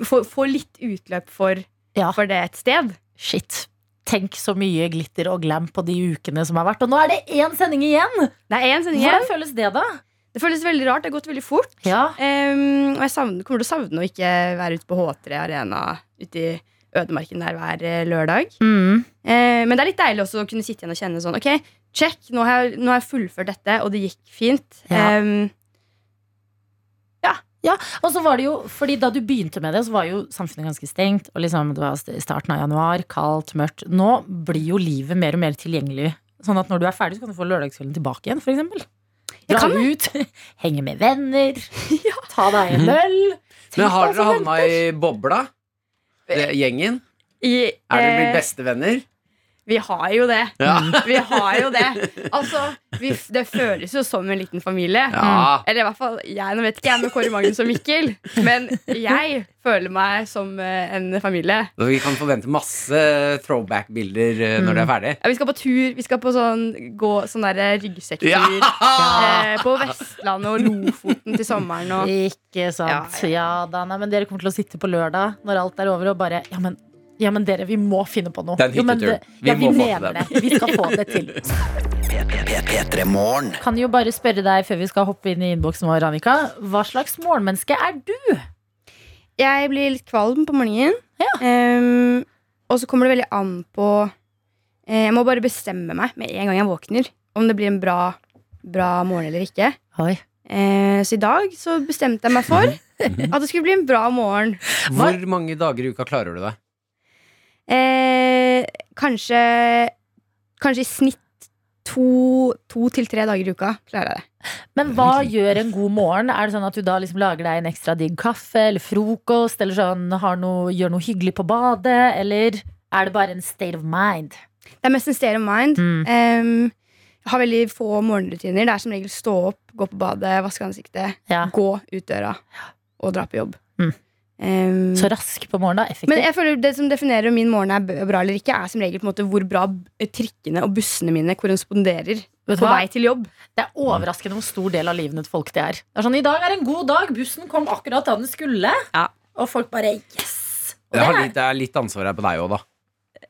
G: få, få litt utløp for,
B: Ja.
G: for det et sted.
B: Shit. Tenk så mye glitter og glam på de ukene som har vært. Og nå er det én sending igjen!
G: Det er én sending igjen.
B: Hvordan føles det, da?
G: Det føles veldig rart. Det har gått veldig fort.
B: Ja,
G: Ehm, og jeg savner, kommer til å savne å ikke være ute på H3 Arena ute i ødemarken der hver eh, lørdag.
B: mm.
G: Eh, men det er litt deilig også å kunne sitte igjen og kjenne sånn Ok, check, nå har jeg, nå har jeg fullført dette, og det gikk fint.
B: Ja.
G: Ehm,
B: Og så var det jo, fordi Da du begynte med det, så var jo samfunnet ganske stengt. og liksom Det var st- starten av januar, kaldt, mørkt. Nå blir jo livet mer og mer tilgjengelig. Sånn at når du er ferdig, så kan du få lørdagskvelden tilbake igjen, f.eks.
G: Jeg
B: Dra
G: kan
B: ut, *laughs* henge med
G: *laughs*
B: venner, ta deg en øl.
C: Men har dere havna i bobla? Det, gjengen?
G: i,
C: Er dere
G: eh,
C: blitt bestevenner?
G: Vi har jo det.
C: Ja.
G: *laughs* Vi har jo det. Altså, vi, f- det føles jo som en liten familie.
C: Ja.
G: Mm. Eller i hvert fall jeg. Nå vet ikke jeg med Kåre Magnus og Mikkel, men jeg føler meg som eh, en familie.
C: Vi kan forvente masse throwback-bilder eh, når det er ferdig.
G: Ja, vi skal på tur. Vi skal på sånn, gå, sånn der ryggsekktur. *laughs* Eh, på Vestlandet og Lofoten til sommeren. Og
B: Ikke sant.
G: Ja,
B: Ja, da, nei, men dere kommer til å sitte på lørdag når alt er over og bare Ja, men, ja, men dere, vi må finne på noe.
C: Det er en
B: Jo, men
C: hyttetur.
B: det-
C: Vi
B: ja, vi
C: må få til
B: mener det. Vi skal få det til.
D: P3 Morgen.
B: Kan jo bare spørre deg før vi skal hoppe inn i innboksen vår, Annika. Hva slags morgenmenneske er du?
G: Jeg blir litt kvalm på morgenen.
B: Ja.
G: Ehm, og så kommer det veldig an på eh, Jeg må bare bestemme meg med en gang jeg våkner om det blir en bra, bra morgen eller ikke.
B: Oi.
G: Eh, så i dag så bestemte jeg meg for at det skulle bli en bra morgen.
C: Hvor mange dager i uka klarer du det?
G: Eh, kanskje, kanskje i snitt to, to til tre dager i uka klarer jeg det.
B: Men hva gjør en god morgen? Er det sånn at du da liksom lager deg en ekstra digg kaffe eller frokost? Eller sånn, har noe, gjør noe hyggelig på badet? Eller er det bare en state of mind?
G: Det er mest en state of mind.
B: Mm.
G: Ehm, jeg har veldig få morgenrutiner. Det er som regel stå opp, gå på badet, vaske ansiktet,
B: Ja.
G: gå ut døra og dra på jobb.
B: Mm.
G: Ehm,
B: Så rask på morgenen, da.
G: men
B: Effektiv.
G: jeg føler det som definerer om min morgen er b- bra eller ikke, er som regel på en måte hvor bra b- trikkene og bussene mine korresponderer
B: Vet du
G: på
B: hva?
G: vei til jobb.
B: Det er overraskende hvor stor del av livene til folk det er. Det er sånn, I dag er en god dag. Bussen kom akkurat da den skulle.
G: Ja.
B: Og folk bare Yes! Og
C: Det, har
B: det er-
C: litt, det er litt ansvar her på deg òg, da.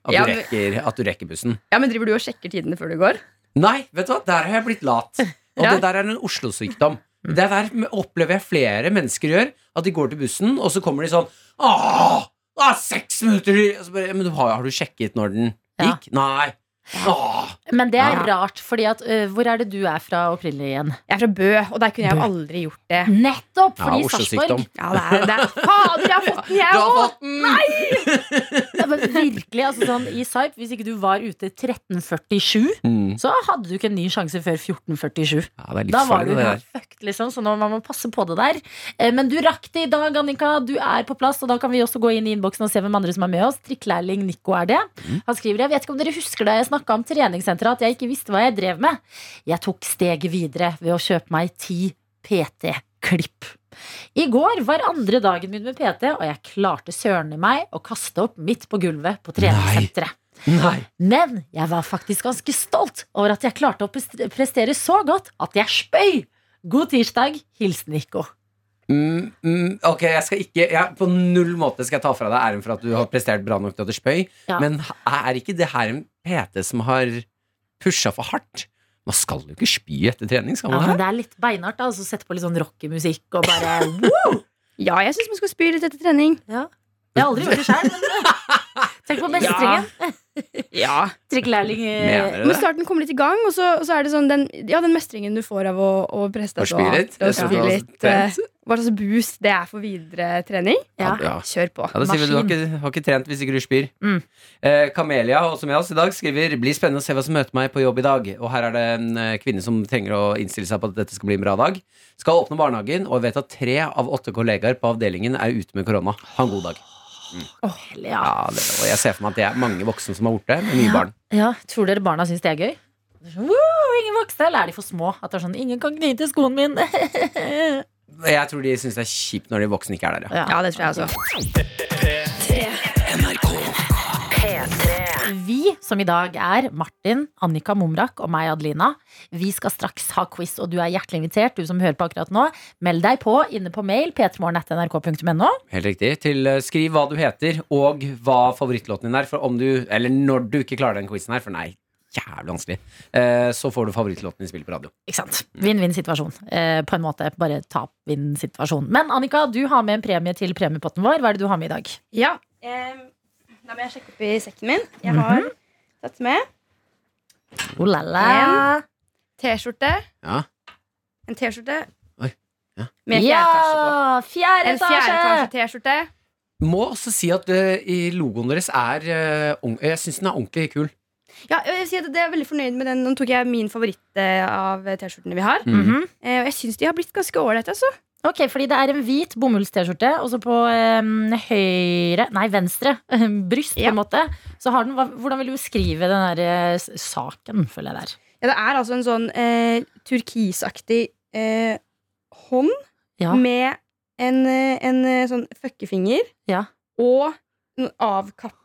C: At,
G: Ja,
C: du
G: men-
C: rekker, at du rekker bussen.
G: Ja, men Driver du og sjekker tidene før du går?
C: Nei, vet du hva, der har jeg blitt lat. Og
G: Ja.
C: det der er en Oslo-sykdom.
B: Mm.
C: Det der opplever jeg flere mennesker gjør. At de går til bussen, og så kommer de sånn Åh, det er seks minutter i-» og så bare, Men du har, har du sjekket når den
B: Ja.
C: gikk? Nei. Åh.
B: Men det er
C: Ja.
B: rart, fordi at ø, Hvor er det du er fra opprinnelig igjen?
G: Jeg er fra Bø, og der kunne jeg
B: Bø.
G: jo aldri gjort det.
B: Nettopp!
C: Ja,
B: Fordi Sarpsborg
C: Oslo-sykdom.
G: Ja, det er, det er. Fader, jeg har fått den, jeg
C: Du har
G: òg!
C: fått den!
B: Ja, men Virkelig, altså sånn I Sarp, hvis ikke du var ute 1347,
C: Mm.
B: så hadde du ikke en ny sjanse før 1447.
C: Ja, det er
B: Da var du
C: livsfarlig, det der.
B: helt fucked, liksom, så nå må man passe på det der. Eh, Men du rakk det i dag, Annika. Du er på plass, og da kan vi også gå inn i innboksen og se hvem andre som er med oss. Trikkelærling Nico er det.
C: Mm.
B: Han skriver jeg vet ikke om dere husker da jeg snakka om treningssenteret, at jeg ikke visste hva jeg drev med. Jeg tok steget videre ved å kjøpe meg ti PT-klipp. I går var andre dagen min med PT, og jeg klarte søren i meg å kaste opp midt på gulvet på treningssenteret.
C: Nei.
B: Men jeg var faktisk ganske stolt over at jeg klarte å pres- prestere så godt at jeg spøy. God tirsdag. Hilsen Nico.
C: Mm, mm, ok, jeg skal ikke jeg, På null måte skal jeg ta fra deg æren for at du har prestert bra nok til at du spøy,
B: Ja.
C: men er ikke det her en PT som har pusha for hardt? Man skal jo ikke spy etter trening, skal
B: Ja,
C: man
B: men
C: det?
B: det er litt beinhardt da, altså sette på litt sånn rockemusikk og bare woo!
G: Ja, jeg syns man skal spy litt etter trening.
B: Jeg har aldri gjort det sjøl, men eh, tenk på mestringen.
G: Ja.
B: Trikkelærling eh,
C: Mener
G: Men
C: du det?
G: starten kommer litt i gang, og så, og så er det sånn den, ja, den mestringen du får av å, å preste
C: Og spy litt?
G: og
C: Jeg synes det
G: spy
C: var
G: litt eh, Hva slags boost det er for videre trening?
B: Ja.
C: Ja.
G: Kjør på.
C: Ja, det sier vi, du har ikke, har ikke trent hvis ikke du spyr.
B: Mm.
C: Eh, Kamelia, også med oss i dag, skriver Blir spennende å se hva som møter meg på jobb i dag. Og her er det en eh, kvinne som trenger å innstille seg på at dette skal bli en bra dag. Skal åpne barnehagen og vet at tre av åtte kollegaer på avdelingen er ute med korona. Ha en god dag. Mm.
B: Ja.
C: Ja, det, og jeg ser for meg at det er mange voksne som er borte, med mye barn.
B: ja. Tror dere barna syns det er gøy? Det er sånn, Woo, ingen vokste, eller er de for små? At det er sånn, Ingen kan knyte skoen min.
C: Jeg tror de syns det er kjipt når de voksne ikke er der, ja.
G: Ja, det tror jeg også.
D: NRK
B: Vi, som i dag er Martin, Annika Momrak og meg, Adelina, vi skal straks ha quiz, og du er hjertelig invitert, du som hører på akkurat nå. Meld deg på inne på mail p3morgen.nrk.no.
C: Helt riktig. Til eh, skriv hva du heter, og hva favorittlåten din er. For om du, eller når du ikke klarer den quizen her, for den er jævlig vanskelig, eh, så får du favorittlåten din spilt på radio.
B: Ikke sant? Vinn-vinn-situasjon, eh, på en måte. Bare tap-vinn-situasjon. Men Annika, du har med en premie til premiepotten vår. Hva er det du har med i dag?
G: Ja. ehm, da må jeg sjekke opp i sekken min. Jeg har tatt med
B: Oh la la.
G: T-skjorte.
C: Ja.
G: En T-skjorte.
C: Oi, ja.
G: Med fjerde etasje på.
B: Ja! Fjerde
G: En fjerde
B: etasje!
G: etasje T-skjorte.
C: Må også si at eh, i logoen deres er eh, ong- Jeg syns den er ordentlig kul.
G: Ja, jeg vil si at jeg er veldig fornøyd med den. Nå tok jeg min favoritt eh, av T-skjortene vi har.
B: Mhm.
G: Eh, og jeg syns de har blitt ganske ålreite, altså.
B: Ok, fordi det er en hvit bomullst-T-skjorte, og så på eh, høyre, nei venstre, bryst på en måte, så har den, hva, hvordan vil du beskrive den der eh, s- saken, føler jeg der?
G: Ja, det er altså en sånn eh, turkisaktig eh, hånd
B: Ja.
G: med en, eh, en eh, sånn fuckefinger
B: Ja.
G: og en avkappa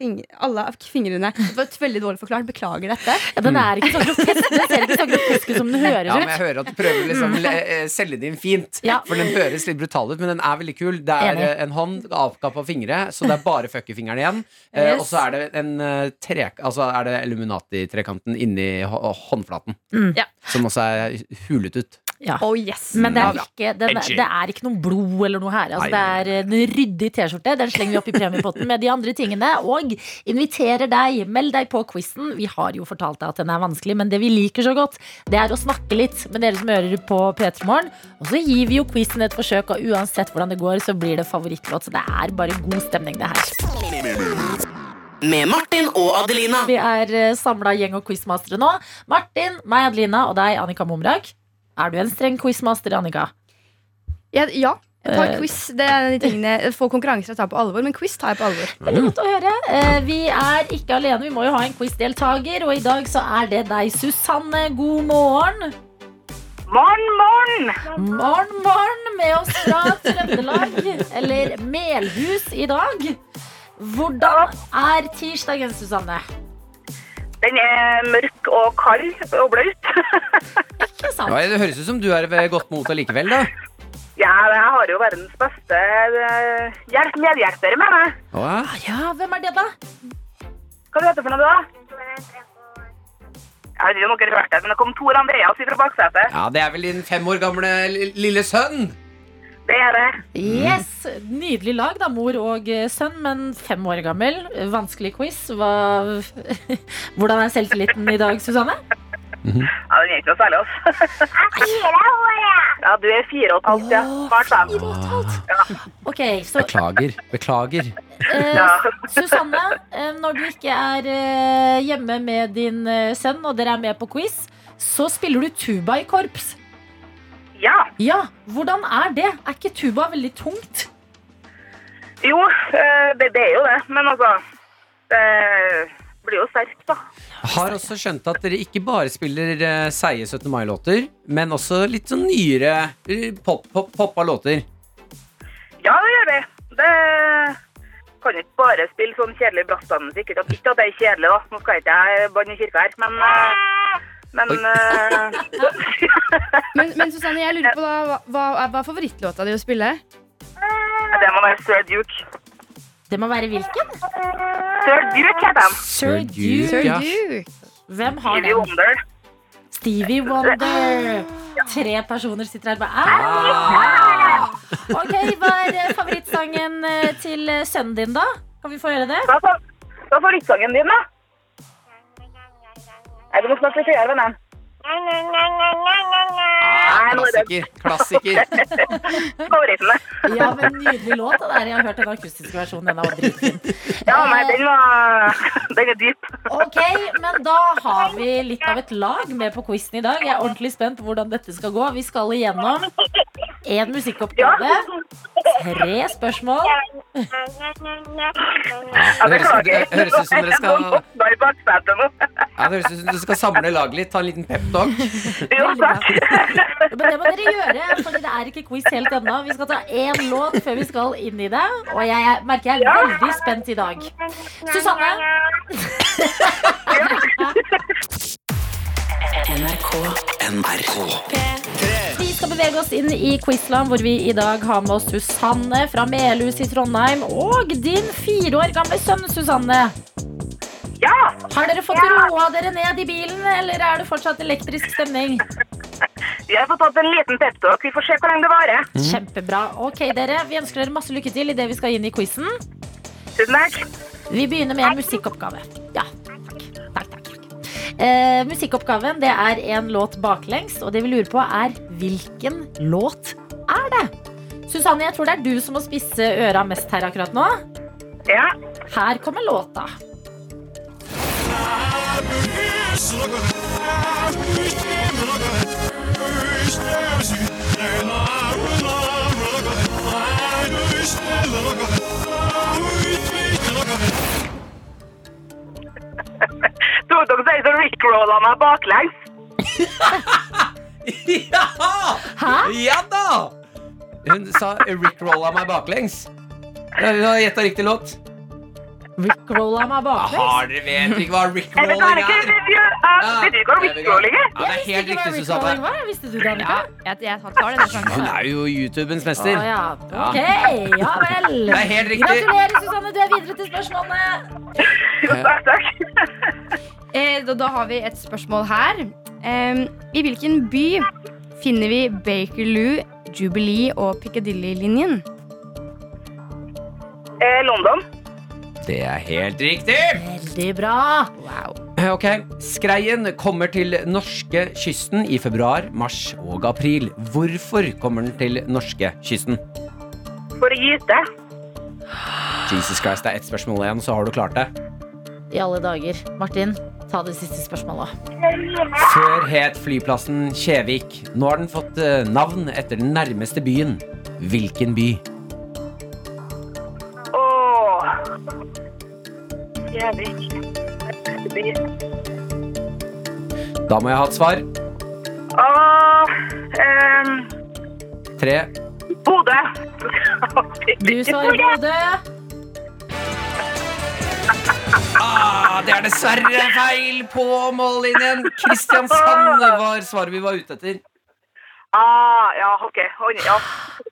G: finger, alle av fingrene. Det var et veldig dårlig forklart. Beklager dette.
B: Ja, den er ikke så grotesk, den ser ikke så grotesk ut som den høres
C: Ja, men
B: ut.
C: jeg hører at du prøver liksom le- eh, selge det inn fint.
B: Mm. Ja.
C: For den høres litt brutal ut, men den er veldig kul. Det er
B: Enig.
C: eh, en hånd, avkappa fingre, så det er bare fuckefingeren igjen. Eh,
G: Yes.
C: Og så er det en eh, tre... Altså er det Illuminati-trekanten inni hå- håndflaten.
B: Mm.
G: Ja.
C: Som også er hulet ut.
G: Oh yes.
B: Men det
C: Ja,
B: er,
C: bra.
B: ikke, den,
C: Edgy.
B: det er ikke noe blod eller noe her. Altså, det
C: Nei.
B: er en ryddig T-skjorte. Den slenger vi opp i premiepotten med de andre tingene. Og inviterer deg. Meld deg på quizen. Vi har jo fortalt deg at den er vanskelig, men det vi liker så godt, det er å snakke litt med dere som hører på P3 Morgen. Og så gir vi jo quizen et forsøk, og uansett hvordan det går, så blir det favorittlåt. Så det er bare god stemning, det her.
F: Med Martin og Adelina.
B: Vi er samla gjeng og quizmastere nå. Martin, meg, Adelina og deg, Annika Momrak. Er du en streng quizmaster, Annika?
G: Ja, ja. Jeg tar
B: Eh.
G: quiz. Det er de tingene Få konkurranser jeg tar på alvor, men quiz tar jeg på alvor.
B: Veldig godt å høre. Eh, Vi er ikke alene, vi må jo ha en quizdeltaker. Og i dag så er det deg, Susanne. God morgen. Morn, morn. Morn, morn med oss fra Trøndelag. Eller Melhus i dag. Hvordan er tirsdagen, Susanne?
H: Den er mørk og kald og blaut. *laughs*
B: Ikke sant?
C: Ja, det høres ut som du er ved godt mot allikevel, da.
H: ja, jeg har jo verdens beste eh, hjelp medhjelper med meg.
C: Å,
B: Ja, hvem er det, da?
H: Hva heter du for noe, du, da? Jeg vet ikke om dere har hørt det, men det kom Tor Andreas fra baksetet.
C: Ja, det er vel din fem år gamle li- lille sønn.
H: Det er det.
B: Yes, Nydelig lag, da. Mor og eh, sønn, men fem år gammel. Vanskelig quiz. Hva... *laughs* Hvordan er selvtilliten i dag, Susanne?
H: Ja, den er ikke noe særlig, altså. *laughs* Ja, du er fire og et halvt, ja. Snart fem.
B: Fire og et halvt. Ok, så
C: Beklager. Beklager.
B: eh,
H: Ja.
B: Susanne, eh, når du ikke er eh, hjemme med din eh, sønn, og dere er med på quiz, så spiller du tuba i korps.
H: ja.
B: Ja, hvordan er det? Er ikke tuba veldig tungt?
H: Jo, eh, det, det er jo det, men altså Det blir jo sterkt, da.
C: Har også skjønt at dere ikke bare spiller eh, seige 17. mai-låter, men også litt sånn nyere eh, pop, pop, poppa låter.
H: Ja, det gjør vi. Det kan jo ikke bare spille sånn kjedelig brassbandmusikk. Ikke at- ikke at det er kjedelig, da. Nå skal ikke jeg banne i kirka her, men eh, Men
C: Oi.
H: eh, *laughs*
G: Men, men Susanne, jeg lurer på da, hva, hva er- hva er favorittlåta di å spille?
H: det må være Sir Duke.
B: Det må være hvilken?
H: Sir Duke heter han.
B: Sir Duke.
G: Sir
C: Ja.
G: Duke.
B: Hvem har
H: Stevie
B: den?
H: Wonder.
B: Stevie Wonder. Tre personer sitter her og bare "Au!"
C: Ah,
B: Ok, hva er eh, favorittsangen eh, til eh, sønnen din, da? Kan vi få høre det?
H: Hva er fa- hva er favorittsangen din, da? Nei, du må snakke litt høyere, vennen. Nei, nå er det
C: klassiker. Klassiker.
H: favoritten. det.
B: Ja, men Nydelig låt. det der. Jeg har hørt den akustiske versjonen. Den er dritfin.
H: Ja, nei, den var *laughs* Den er dyp.
B: Ok, men da har vi litt av et lag med på quizen i dag. Jeg er ordentlig spent på hvordan dette skal gå. Vi skal igjennom én musikkoppgave, tre spørsmål.
H: Ja,
C: Det høres ut-
H: beklager.
C: det høres ut som dere skal-
H: Jeg må hoppe i baksetet
C: *laughs*
H: nå.
C: Ja, det høres ut som du skal samle laget litt, ta en liten peptalk.
H: Jo,
B: Veldig bra.
H: takk.
B: Men det må dere gjøre, for det er ikke quiz helt ennå. Vi skal ta én låt før vi skal inn i det. Og jeg er- merker jeg er veldig spent i dag. Susanne,
D: NRK.
B: vi skal bevege oss inn i quizland, hvor vi i dag har med oss Susanne fra Melhus i Trondheim. Og din fire år gamle sønn Susanne.
H: Ja,
B: Har dere fått roa dere ned i bilen, eller er det fortsatt elektrisk stemning?
H: vi har fått tatt en liten peptalk. Vi får se hvor lenge det varer.
C: Mm.
B: Kjempebra. Ok, dere. Vi ønsker dere masse lykke til idet vi skal inn i quizen.
H: Tusen takk.
B: Vi begynner med en musikkoppgave. Ja, takk. takk, takk, takk. Eh, musikkoppgaven det er en låt baklengs, og det vi lurer på, er hvilken låt er det? Susanne, jeg tror det er du som må spisse øra mest her akkurat nå.
H: Ja,
B: Her kommer låta.
H: tror dere sier så rickrolla meg
C: *laughs*
H: baklengs.
C: Ja!
B: Hæ?
C: Ja da! Hun sa rickrolla meg baklengs. Ja, Hun har gjetta riktig låt.
B: Rickrolla meg baklengs.
C: dere vet ikke hva
H: Jeg
C: rickrolling
H: vet ikke, vet du eh, vet du ikke hva rickrolling er?
C: Ja, det er helt
B: Ikke hva
C: riktig,
B: Rickrolla
C: Susanne.
B: var. Visste du det, Annika?
G: Jeg, jeg tar denne
C: Hun
G: sjansen.
C: er jo YouTubens
B: Å
C: mester.
B: ja. Ok, ja vel.
C: Det er helt riktig.
B: Gratulerer, Susanne. Du er videre til spørsmålene.
H: Jo, takk, takk.
G: Eh, da, da har vi et spørsmål her. Em, I hvilken by finner vi Bakerloo, Jubilee og Piccadilly-linjen?
H: Eh, London.
C: Det er helt riktig.
B: Veldig bra.
G: Wow.
C: Eh, Ok, Skreien kommer til norske kysten i februar, mars og april. Hvorfor kommer den til norske kysten?
H: For å gyte.
C: Jesus Christ, det er ett spørsmål igjen, så har du klart det.
B: I alle dager. Martin, ta det siste spørsmålet.
C: Før het flyplassen Kjevik. Nå har den fått eh, navn etter den nærmeste byen. Hvilken by?
H: Åh. Jævlig. Åh.
C: Da må jeg ha et svar.
H: Um,
C: Tre.
H: Bodø.
B: Du svarer Bodø.
C: Ah, det er dessverre feil på mållinjen. Kristiansand var svaret vi var ute etter.
H: Ah, ja, ok. Hånd- Ja.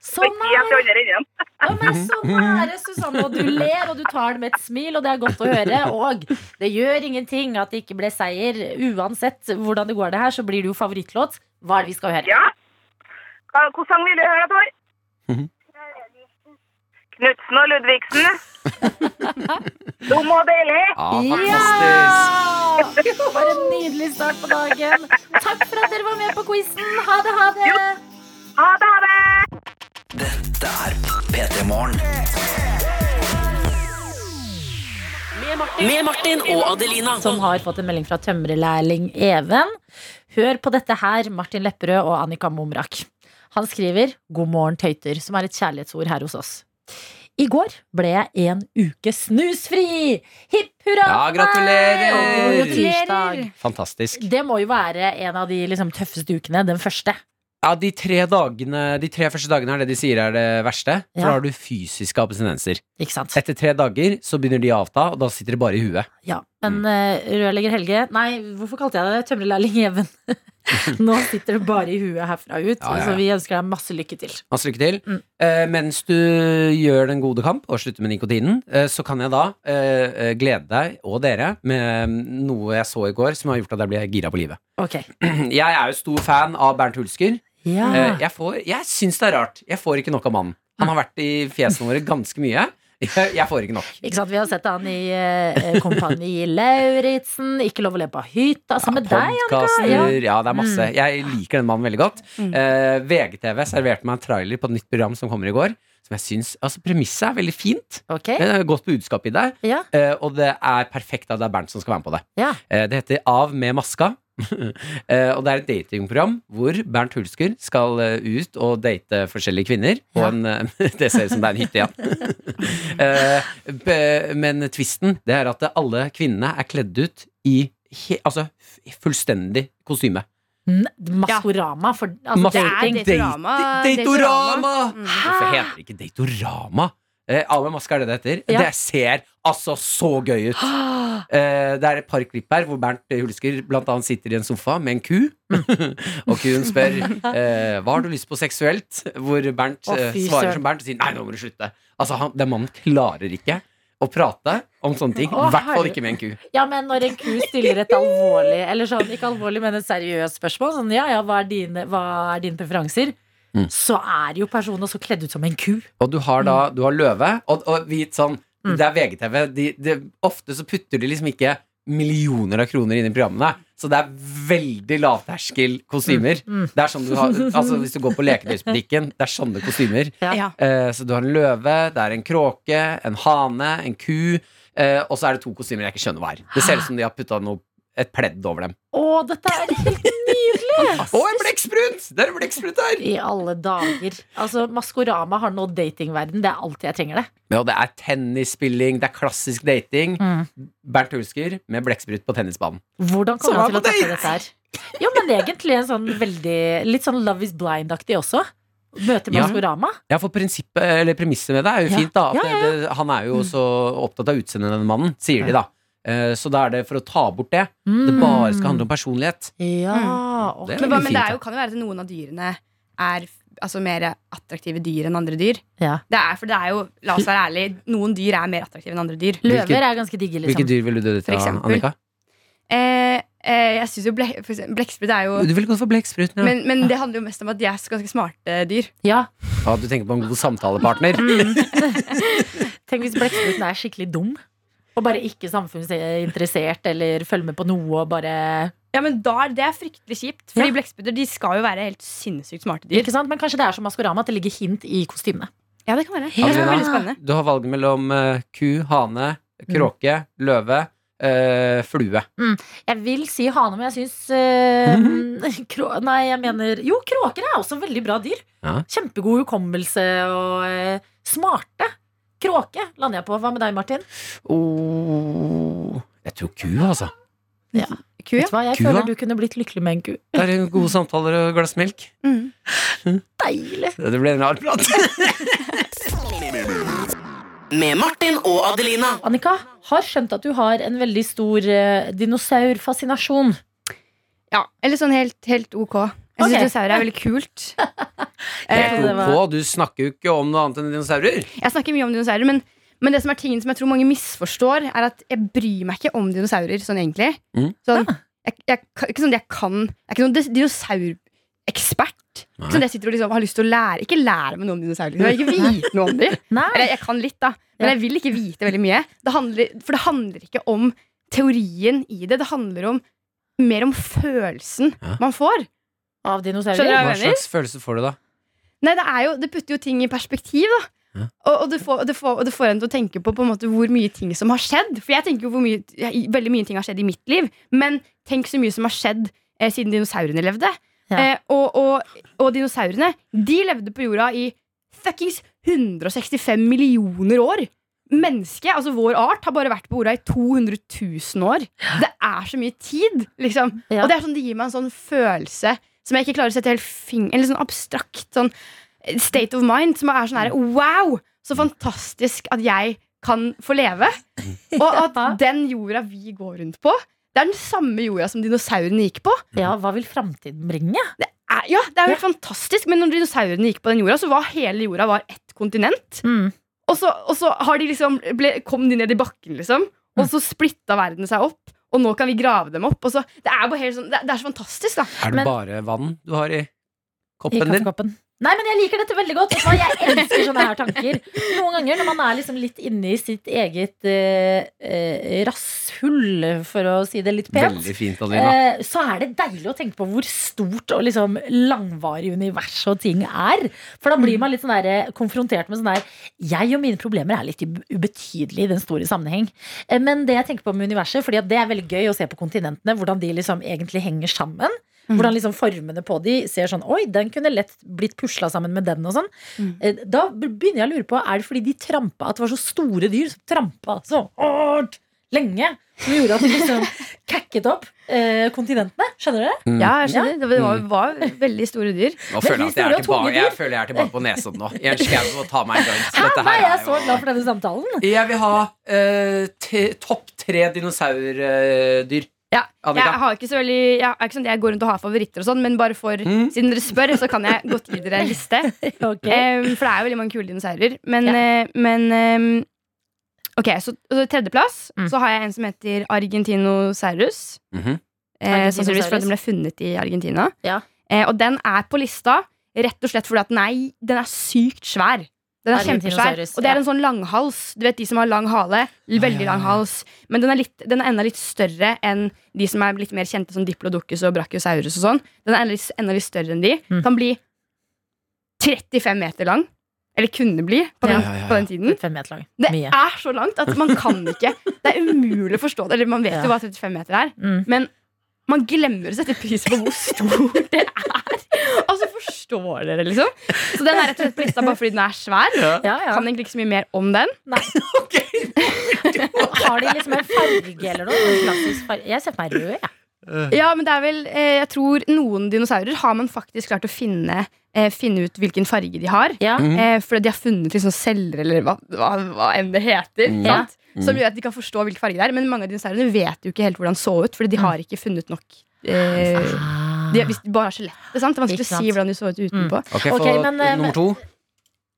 B: Så
H: Jeg til
B: nære,
H: andre enden.
B: sånn Ja, men så nære, Susanne. Og du ler, og du tar det med et smil, og det er godt å høre. Og det gjør ingenting at det ikke ble seier. Uansett hvordan det går det her, så blir det jo favorittlåt. Hva er det vi skal høre?
H: Ja. Hva, hvilken sang vil du høre, Tor?
C: Mhm.
H: Knutsen og Ludvigsen. Dum og deilig.
C: Ah, fantastisk.
B: Ja! Bare en nydelig start på dagen. Takk for at dere var med på quizen. Ha det, ha det.
H: Ha det, ha det!
D: Det er P3 Morgen.
F: Med Martin og Adelina.
B: som har fått en melding fra tømrerlærling Even. Hør på dette her, Martin Lepperød og Annika Momrak. Han skriver 'God morgen, tøyter', som er et kjærlighetsord her hos oss. I går ble jeg en uke snusfri! Hipp hurra!
C: Ja,
B: for meg!
C: gratulerer!
B: Og det var jo tirsdag.
C: Fantastisk.
B: Det må jo være en av de liksom, tøffeste ukene. Den første.
C: Ja, de tre, dagene, de tre første dagene er det de sier er det verste. For
B: Ja.
C: da har du fysiske abstinenser.
B: Ikke sant?
C: Etter tre dager så begynner de å avta, og da sitter det bare i huet.
B: Ja,
C: Mm.
B: men eh, rørlegger Helge Nei, hvorfor kalte jeg det tømrerlærling Even? *laughs* Nå sitter det bare i huet herfra ut,
C: Ja, ja, ja.
B: så vi ønsker deg masse lykke til.
C: Masse lykke til.
B: Mm.
C: Eh, mens du gjør den gode kamp og slutter med nikotinen, eh, så kan jeg da eh, eh, glede deg og dere med mm, noe jeg så i går som har gjort at jeg blir gira på livet. *clears throat*
B: Ok.
C: Jeg er jo stor fan av Bernt Hulsker.
B: Ja.
C: Eh, jeg får- jeg syns det er rart. Jeg får ikke nok av mannen. Han har vært i fjesene våre ganske mye. *laughs* Jeg, jeg får ikke nok.
B: Ikke sant, Vi har sett han i eh, Kompani Lauritzen, Ikke lov å le på hytta. Sammen med deg, Annika.
C: Podcaster,
B: Ja. Mm.
C: ja, det er masse. Jeg liker den mannen veldig godt. Eh, VGTV serverte meg en trailer på et nytt program som kommer i går. Som jeg syns, altså Premisset er veldig fint.
B: Ok,
C: Det er et godt budskap i det.
B: ja,
C: eh, og det er perfekt at det er Bernt som skal være med på det.
B: ja.
C: Eh, det heter Av med maska. *laughs* Eh, og det er et datingprogram hvor Bernt Hulsker skal eh, ut og date forskjellige kvinner. På en, eh, *laughs* det ser ut som det er en hytte igjen. eh, b- men twisten det er at alle kvinnene er kledd ut i he, altså, f- fullstendig kostyme.
B: N- Maskorama. For, altså,
C: Mas-
B: det er
G: dating. Datorama,
C: Date- Datorama!
G: datorama. Mm.
C: Hvorfor heter det ikke Datorama? Eh, Ala Maska er det det heter.
B: Ja.
C: Det ser altså så gøy
B: *gasps*
C: ut. Eh, det er et par klipp her hvor Bernt Hulsker blant annet sitter i en sofa med en ku. *laughs* og kuen spør eh, hva har du lyst på seksuelt, hvor Bernt
B: Å,
C: eh,
B: fy søren.
C: svarer som Bernt og sier nei, nå må du slutte. Altså, han, Den mannen klarer ikke å prate om sånne ting.
B: Å,
C: I hvert fall
B: herre-
C: ikke med en ku.
B: Ja, men når en ku stiller et alvorlig Eller sånn, ikke alvorlig, men et seriøst spørsmål Sånn, ja, ja, hva er dine, hva er dine preferanser?
C: Mm.
B: Så er jo personen også kledd ut som en ku
C: Og du har da du har løve og, og hvit sånn
B: Mm.
C: Det er VGTV. De, de, ofte så putter de liksom ikke millioner av kroner inn i programmene. Så det er veldig lavterskel kostymer.
B: Mm, mm.
C: Det er sånn du har, altså Hvis du går på leketøysbutikken, det er sånne kostymer.
B: Ja.
G: Ja.
C: Eh, så du har en løve, det er en kråke, en hane, en ku. Eh, og så er det to kostymer jeg ikke skjønner hva er. Det ser ut som de har putta noe et pledd over dem.
B: Å, dette er helt nydelig
C: Å, en blekksprut! Det er en blekksprut her!
B: I alle dager Altså, Maskorama har nå datingverden Det er alltid jeg trenger det
C: Ja, det er tennisspilling, det er klassisk dating.
B: Mm.
C: Bernt Hulsker med blekksprut på tennisbanen.
B: Hvordan
C: Som
B: kommer han
C: er
B: til å
C: på
B: takle dette her? Jo, men egentlig en sånn veldig Litt sånn Love is Blind-aktig også Møte
C: Ja.
B: Maskorama
C: Ja, for prinsippet, eller premisset med det er jo
B: Ja.
C: fint, da. At
B: Ja, ja, Mm.
C: Det, han er jo så opptatt av utseendet, denne mannen, sier de, da. Eh, Så da er det for å ta bort det. Det bare skal handle om personlighet.
B: Mm. Ja, ok
C: Det er
G: Men, hva-
C: veldig
G: men det er jo,
C: fint. da.
G: kan jo være at noen av dyrene er f- altså, mer attraktive dyr enn andre dyr.
B: Ja.
G: Det er, for det er jo, la oss være ærlig, noen dyr er mer attraktive enn andre dyr.
B: Løver er ganske digge
C: Hvilke
B: liksom
C: dyr ville du dødd
G: For
C: til,
G: eksempel.
C: Annika?
G: Eh, eh, jeg synes jo blek, for eksempel Blekksprut er jo
C: Du ville gått for blekkspruten, ja.
G: men, men det handler jo mest om at de er så ganske smarte dyr.
B: Ja,
C: ja. Du tenker på en god
B: *laughs*
C: samtalepartner.
B: Mm. Tenk hvis blekkspruten er skikkelig dum og bare ikke samfunnsinteressert eller følger med på noe og bare
G: Ja, men da er Det er fryktelig kjipt. Fordi blekkspruter de skal jo være helt sinnssykt smarte dyr.
B: Ikke sant? Men kanskje det er som Maskorama, at det ligger hint i kostymene.
G: Ja, det kan være.
B: Ja.
G: Det er veldig spennende.
C: Du har valget mellom eh, ku, hane, kråke, løve, eh, flue.
B: Jeg vil si hane, men jeg syns
C: Mhm.
B: eh, *laughs* krå, Nei, jeg mener Jo, kråker er også veldig bra dyr.
C: Ja.
B: Kjempegod hukommelse og eh, smarte. Kråke lander jeg på. Hva med deg, Martin?
C: Oh, jeg tror ku, altså.
G: Ku, ja.
B: Vet du hva? Jeg
C: Kua?
B: føler du kunne blitt lykkelig med en ku.
C: Det er gode samtaler og glass melk.
G: Mm.
B: Deilig!
C: Det ble en rar prat.
F: Med Martin og Adelina.
B: Annika, har skjønt at du har en veldig stor eh, dinosaurfascinasjon.
G: ja. Eller sånn helt, helt ok. Jeg syns
B: Ok.
G: dinosaurer er veldig *laughs* kult. Eh,
B: Jeg tror det var-
C: På, du snakker jo ikke om noe annet enn dinosaurer.
G: Jeg snakker mye om dinosaurer, men, men det som er tingen som jeg tror mange misforstår, er at jeg bryr meg ikke om dinosaurer sånn egentlig.
C: Mm.
G: Sånn, jeg, jeg, kan- ikke sånn at jeg kan Jeg er ikke noen dis- dinosaurekspert. Ikke Sånn at jeg sitter og liksom har lyst til å lære Ikke lære meg noe om dinosaurer. Liksom. Jeg vil ikke vite noe om dem.
B: Nei.
G: Eller jeg kan litt, da. Men
B: Ja.
G: jeg vil ikke vite veldig mye. Det handler, for det handler ikke om teorien i det. Det handler om mer om følelsen
C: Ja.
G: man får.
B: Av dinosaurer.
G: Skjønner du hva
C: Hva
G: jeg mener?
C: slags følelse får du da?
G: Nei, det, er jo, det putter jo ting i perspektiv, da.
C: Ja.
G: Og, og, det får, og, det får, og det får en til å tenke på, på en måte, hvor mye ting som har skjedd. For jeg tenker jo hvor mye, ja, i- veldig mye ting har skjedd i mitt liv, men tenk så mye som har skjedd eh, siden dinosaurene levde.
B: Ja.
G: Eh, og, og, og dinosaurene, de levde på jorda i fuckings 165 millioner år. Mennesket, altså vår art, har bare vært på jorda i 200 000 år. Det er så mye tid, liksom.
B: Ja.
G: Og det er sånn, det gir meg en sånn følelse som jeg ikke klarer å sette helt fing- Eller sånn abstrakt sånn state of mind, som er sånn her Wow! Så fantastisk at jeg kan få
B: *laughs*
G: leve. Og at
B: Ja.
G: den jorda vi går rundt på, det er den samme jorda som dinosaurene gikk på.
B: Ja, hva vil framtiden bringe?
G: Er- Ja, det er jo helt fantastisk, men når dinosaurene gikk på den jorda, så var hele jorda var ett kontinent.
B: Mm.
G: Og så, og så har de liksom ble, kom de ned i bakken, liksom. Og så splitta verden seg opp, og nå kan vi grave dem opp. Og så, det, er bare helt sånn, det, er- det er så fantastisk, da.
C: Er det
B: Men-
C: bare vann du har i
B: I
C: koppen din?
B: kaffekoppen.
I: Nei, men jeg liker dette veldig godt. Vet du hva? Jeg elsker sånne her tanker. Noen ganger når man er liksom litt inne i sitt eget eh, eh, rasshull, for å si det litt pent,
C: Veldig fint, Adelina.
I: eh, så er det deilig å tenke på hvor stort og liksom langvarig univers og ting er. For da blir man litt sånn der, eh, konfrontert med sånn der Jeg og mine problemer er litt ub- ubetydelige i den store sammenheng. Eh, Men det jeg tenker på med universet, fordi at det er veldig gøy å se på kontinentene, hvordan de liksom egentlig henger sammen.
G: Mm.
I: Hvordan liksom formene på de ser sånn Oi, den kunne lett blitt pusla sammen med den og sånn.
G: Mm.
I: Eh, Da begynner jeg å lure på, er det fordi de trampa at det var så store dyr som trampa så hardt lenge? Som gjorde at de liksom
G: *laughs*
I: kakket opp eh, kontinentene? Skjønner dere?
G: Mm. Ja, Mm. jeg skjønner. Det var, var veldig store dyr.
C: Nå føler jeg, at jeg,
I: veldig store
C: er tilbake, jeg føler jeg er tilbake på Nesodden nå. Jeg ønsker jeg må ta meg en joint. Dette
I: Nei,
C: her
I: jeg er
C: er
I: så
C: jo-
I: glad for denne
G: *laughs*
I: samtalen.
C: Jeg vil ha eh, te- topp tre dinosaurdyr.
G: Ja, jeg,
C: Annika?
G: har ikke så veldig, jeg er ikke sånn at jeg går rundt og har favoritter og sånn, men bare for
C: Mm.
G: Siden dere spør, så kan jeg godt gi dere en liste.
I: Ok.
G: Em, Eh, for det er jo veldig mange kule dinosaurer. Men,
I: Ja.
G: eh, men em, Ok, så, så tredjeplass
B: Mm.
G: så har jeg en som heter Argentinosaurus.
C: Mhm.
G: eh, sannsynligvis
B: Argentinosaurus.
G: fordi den ble funnet i Argentina.
B: Ja.
G: Eh, og den er på lista rett og slett fordi at nei, den er sykt svær. Den er kjempesvær.
B: Argentinosaurus,
G: Og det
B: ja.
G: er en sånn langhals. Du vet de som har lang hale. Veldig lang hals. Men den er, litt, den er enda litt større enn de som er litt mer kjente som Diplodocus og Brachiosaurus og sånn. Den er enda litt, enda litt større enn de.
B: Mm.
G: Kan bli 35 meter lang. Eller kunne bli på den,
C: Ja, ja, ja.
G: På den tiden.
B: Fem meter lang.
G: Det
B: Mye.
G: er så langt at man kan ikke Det er umulig å forstå det. Eller man vet
B: Ja.
G: jo hva 35 meter er.
B: Mm.
G: Men man glemmer å sette pris på hvor stor det er. Altså, forstår dere, liksom? Så den er rett og slett på lista bare fordi den er svær.
B: Ja, ja.
G: Kan egentlig ikke så mye mer om den. *laughs*
B: Har de liksom en farge eller noe? En klassisk farge? Jeg ser på meg rød, jeg.
G: Ja, men det er vel, eh, jeg tror Noen dinosaurer har man faktisk klart å finne, eh, finne ut hvilken farge de har.
B: Ja.
I: Mm.
G: Eh, fordi de har funnet liksom celler, eller hva, hva, hva enn det heter.
B: Mm. Ja.
G: Sant? Som gjør at de kan forstå hvilken farge det er. Men mange av dinosaurene vet jo ikke helt hvordan de så ut,
B: Mm.
G: fordi de har ikke funnet nok eh, de, Hvis de bare har skjelettet. sant? Det er
B: Ikke
G: vanskelig å
B: sant. Mm.
G: si hvordan de så ut utenpå.
C: Ok, få
B: Ok, men, eh,
C: nummer to.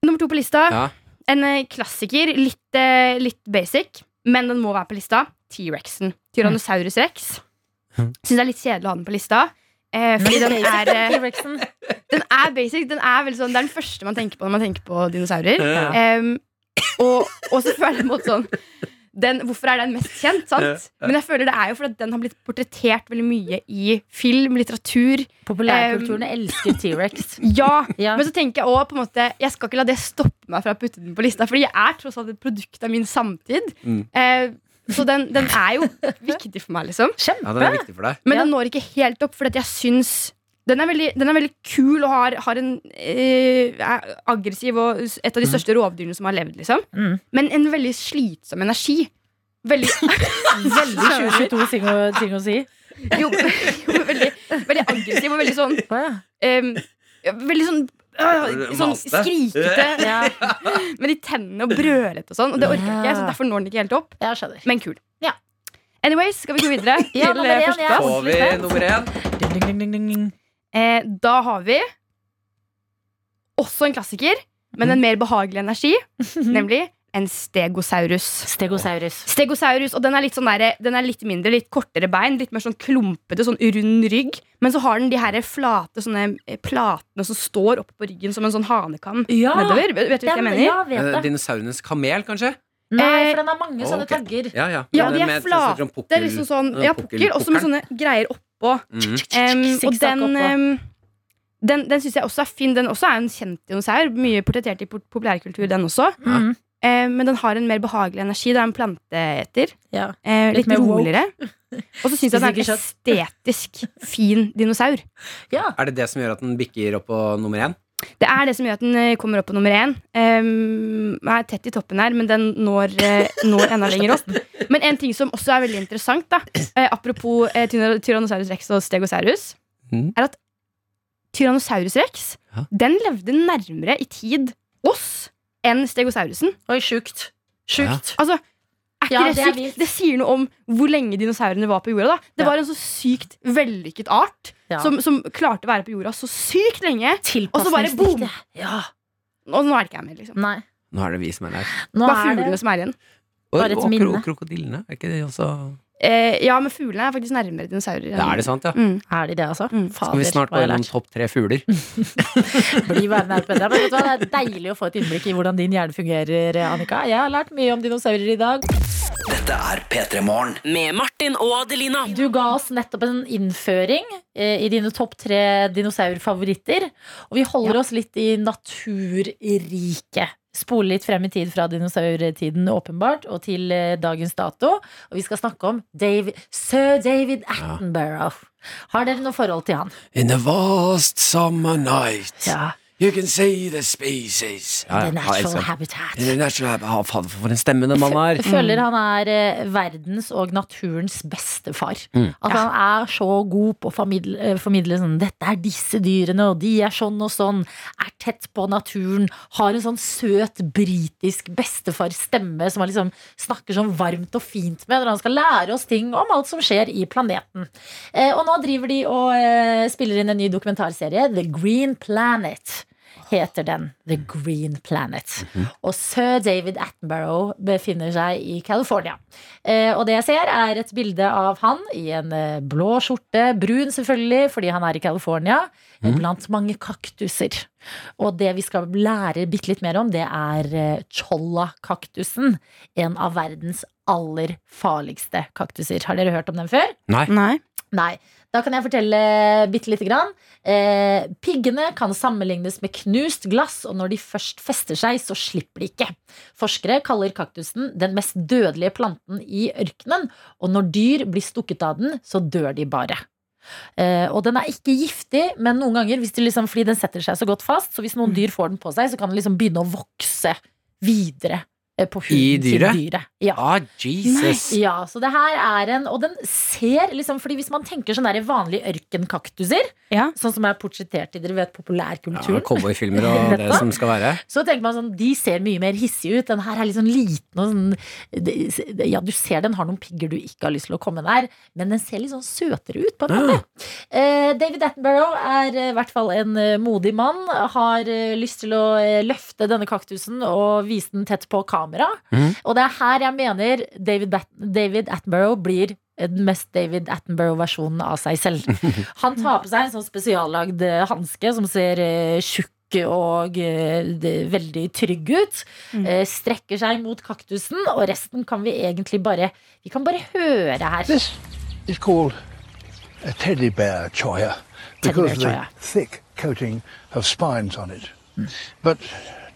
G: Nummer to på lista.
C: Ja.
G: En eh, klassiker. Litt, eh, litt basic, men den må være på lista.
B: Mm.
G: T-rexen. Tyrannosaurus rex. Syns det er litt kjedelig å ha den på lista. Eh, fordi den er, eh,
B: T-rexen.
G: den er basic. Den er veldig sånn, det er den første man tenker på når man tenker på dinosaurer.
B: Ja.
G: Em, og, og så føler jeg på en måte sånn den, Hvorfor er den mest kjent? sant? Men jeg føler det er jo fordi at den har blitt portrettert veldig mye i film, litteratur.
B: Populærkulturen elsker T-rex.
G: Ja,
B: Ja.
G: Men så tenker jeg også, på en måte Jeg skal ikke la det stoppe meg fra å putte den på lista, Fordi jeg er tross alt et produkt av min samtid. Eh, så den, den er jo viktig for meg, liksom.
C: Ja, den er viktig for deg.
G: Men
B: Ja.
G: den når ikke helt opp, fordi at jeg syns den er, veldig, den er veldig kul og har, har en eh, er aggressiv og s- et av de største rovdyrene som har levd. liksom
B: Mm.
G: Men en veldig slitsom energi. Veldig,
B: *laughs* Veldig 2022 ting å, ting å si.
G: jo, *laughs* jo, veldig, veldig aggressiv og veldig sånn
B: Å, ja.
G: em, Veldig sånn øh, Sånn
C: Maste.
G: skrikete
B: Ja,
G: med de tennene og brølete og sånn. Og det orker jeg ikke, så derfor når den ikke helt opp.
B: jeg skjønner.
G: Men kul.
B: Ah. Ja.
G: Anyways, skal vi gå videre
B: *laughs*
G: til
B: Ja, nummer én,
G: eh,
B: ja.
G: førsteplass?
C: Får vi nummer én?
B: Ding, ding, ding, ding, ding.
G: Eh, da har vi også en klassiker, men
B: Mhm.
G: en mer behagelig
B: *laughs*
G: energi, nemlig en stegosaurus.
B: Stegosaurus.
G: Stegosaurus, og den er, litt sånn der, den er litt mindre, litt kortere bein, litt mer sånn klumpete, sånn rund rygg. Men så har den de her flate sånne eh, platene som står oppe på ryggen som en sånn hanekam
B: Ja!
G: nedover. Vet vet du hva jeg
B: Den-
G: mener?
B: Ja, vet
C: Eh,
B: det.
C: Dinosaurenes kamel, kanskje?
B: Nei, for den har mange sånne
C: Ok.
B: tagger.
C: Ja, ja.
G: Ja,
C: Men
G: de er
C: med-
G: flate,
C: sånn pukkel-
G: Det er liksom sånn, ja, pukkel, også med
C: pukkel.
G: sånne greier oppå.
C: Mhm.
G: Em, og
B: Sikksakk
G: den,
B: oppå.
G: um, den, den syns jeg også er fin. Den også er en kjent dinosaur. Mye portrettert i pop- populærkultur, den også.
B: Mm.
G: Eh, men den har en mer behagelig energi. Det er en planteeter.
B: Ja.
G: Eh,
B: Litt
G: litt
B: mer woke. *laughs*
G: roligere. Og så syns jeg den er en
B: Spiser
G: estetisk fin dinosaur.
B: ja.
C: Er det det som gjør at den bikker opp på nummer én?
G: Det er det som gjør at den eh, kommer opp på nummer én. Um, er tett i toppen her, men den når, eh, når enda lenger opp. Men en ting som også er veldig interessant, da, eh, apropos eh, tyranno- Tyrannosaurus rex og Stegosaurus,
C: Mhm.
G: er at Tyrannosaurus rex
C: Ja.
G: den levde nærmere i tid oss enn Stegosaurusen.
B: Oi, sjukt. Sjukt.
G: Altså, er ikke
B: Ja,
G: det
B: det er
G: sykt?
B: vilt.
G: det sier noe om hvor lenge dinosaurene var på jorda. da Det
B: Ja.
G: var en så sykt vellykket art
B: Ja.
G: som, som klarte å være på jorda så sykt lenge. Og så bare boom!
B: Tilpasningsdyktig. Ja.
G: Og nå er det ikke jeg med, liksom.
B: Nei.
C: Nå er det vi som er der.
B: Nå
G: Bare
B: er det
G: fuglene som er igjen.
C: Og,
B: Bare et
C: og kro
B: minne.
C: krokodillene, er ikke de også
G: Eh, ja, men fuglene er faktisk nærmere dinosaurer.
C: Ja, er det sant, ja?
G: Mm.
B: Er de det, altså?
G: Mm.
C: Skal vi snart
B: hva har
C: gå
B: jeg
C: gjennom
B: lært?
C: topp tre fugler?
B: *laughs* Bli verden er bedre. Men vet du hva, det er deilig å få et innblikk i hvordan din hjerne fungerer, Annika. Jeg har lært mye om dinosaurer i dag.
J: Dette er P3 Morgen.
K: Med Martin og Adelina.
B: Du ga oss nettopp en innføring eh, i dine topp tre dinosaurfavoritter. Og vi holder oss litt i naturriket. Spole litt frem i tid fra dinosaurtiden åpenbart og til eh, dagens dato. Og vi skal snakke om David, sir David Attenborough. Har dere noe forhold til han?
C: In the vast summer night,
B: Ja,
C: you can see the species.
B: The
C: Ja, ja,
B: Natural
C: elsker han.
B: Habitat.
C: In the natural hab- ah, faen, for en stemme den mannen har.
B: *laughs* Jeg føler han er eh, verdens og naturens beste far.
C: Mm.
B: At han er så god på å formidle, eh, formidle sånn Dette er disse dyrene, og de er sånn og sånn. Er tett på naturen. Har en sånn søt britisk bestefarstemme som han liksom snakker sånn varmt og fint med når han skal lære oss ting om alt som skjer i planeten. Eh, og nå driver de og eh, spiller inn en ny dokumentarserie, The Green Planet. Heter den The Green Planet. Og sir David Attenborough befinner seg i California. Eh, og det jeg ser, er et bilde av han i en eh, blå skjorte. Brun, selvfølgelig, fordi han er i California. eh, Blant mange kaktuser. Og det vi skal lære bitte litt mer om, det er eh, cholla-kaktusen. En av verdens aller farligste kaktuser. Har dere hørt om den før?
C: Nei.
G: Nei.
B: Nei. Da kan jeg fortelle bitte lite grann. Eh, piggene kan sammenlignes med knust glass, og når de først fester seg, så slipper de ikke. Forskere kaller kaktusen den mest dødelige planten i ørkenen, og når dyr blir stukket av den, så dør de bare. Eh, og den er ikke giftig, men noen ganger hvis de liksom, fordi den setter seg så godt fast, så hvis
C: Mm.
B: noen dyr får den på seg, så kan den liksom begynne å vokse videre eh, på
C: I
B: huden til
C: dyret?
B: dyret. Ja.
C: Ah, Jesus.
B: Ja, så det her er en Og den ser liksom Fordi hvis man tenker sånn der vanlige ørkenkaktuser,
G: Ja.
B: sånn som er portrettert i dere vet
C: Ja,
B: populærkulturen, *laughs*
C: Cowboyfilmer og det
B: Dette?
C: som skal være.
B: så tenker man sånn De ser mye mer hissige ut. Den her er litt sånn liten og sånn det- Ja, du ser den har noen pigger du ikke har lyst til å komme nær, men den ser litt sånn søtere ut, på en måte. Eh, David Attenborough er eh, i hvert fall en eh, modig mann. Har eh, lyst til å eh, løfte denne kaktusen og vise den tett på kamera.
C: Mhm.
B: Og det er her jeg mener David, Bat David Attenborough blir eh, den mest David Attenborough-versjonen av seg selv. Han tar på seg en sånn spesiallagd eh, hanske som ser eh, tjukk og eh, det- veldig trygg ut.
G: Mhm.
B: Eh, strekker seg mot kaktusen, og resten kan vi egentlig bare Vi kan bare høre her.
L: This is called a teddy bear choya because of
B: choya.
L: the thick coating of spines on it. But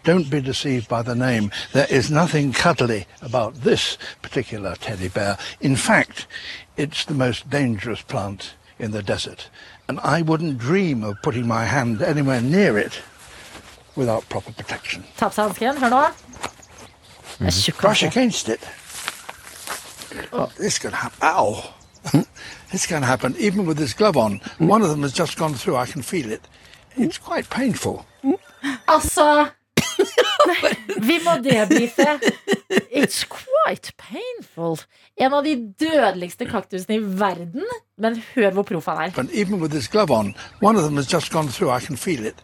L: don't be deceived by the name. There is nothing cuddly about this particular teddy bear. In fact, it's the most dangerous plant in the desert. And I wouldn't dream of putting my hand anywhere near it without proper protection.
B: Ta på seg hansken. Hør nå. Det er tjukk altså.
L: brush
B: hanske.
L: against it. Oh, this can happen. Ow. *laughs* this can happen even with this glove on. One of them has just gone through. I can feel it. It's quite painful.
B: *laughs* Altså Vi må debrife. It's quite painful. En av de dødeligste kaktusene i verden. Men hør hvor proff han er.
L: But even with this glove on, one of them has just gone through. I can feel it.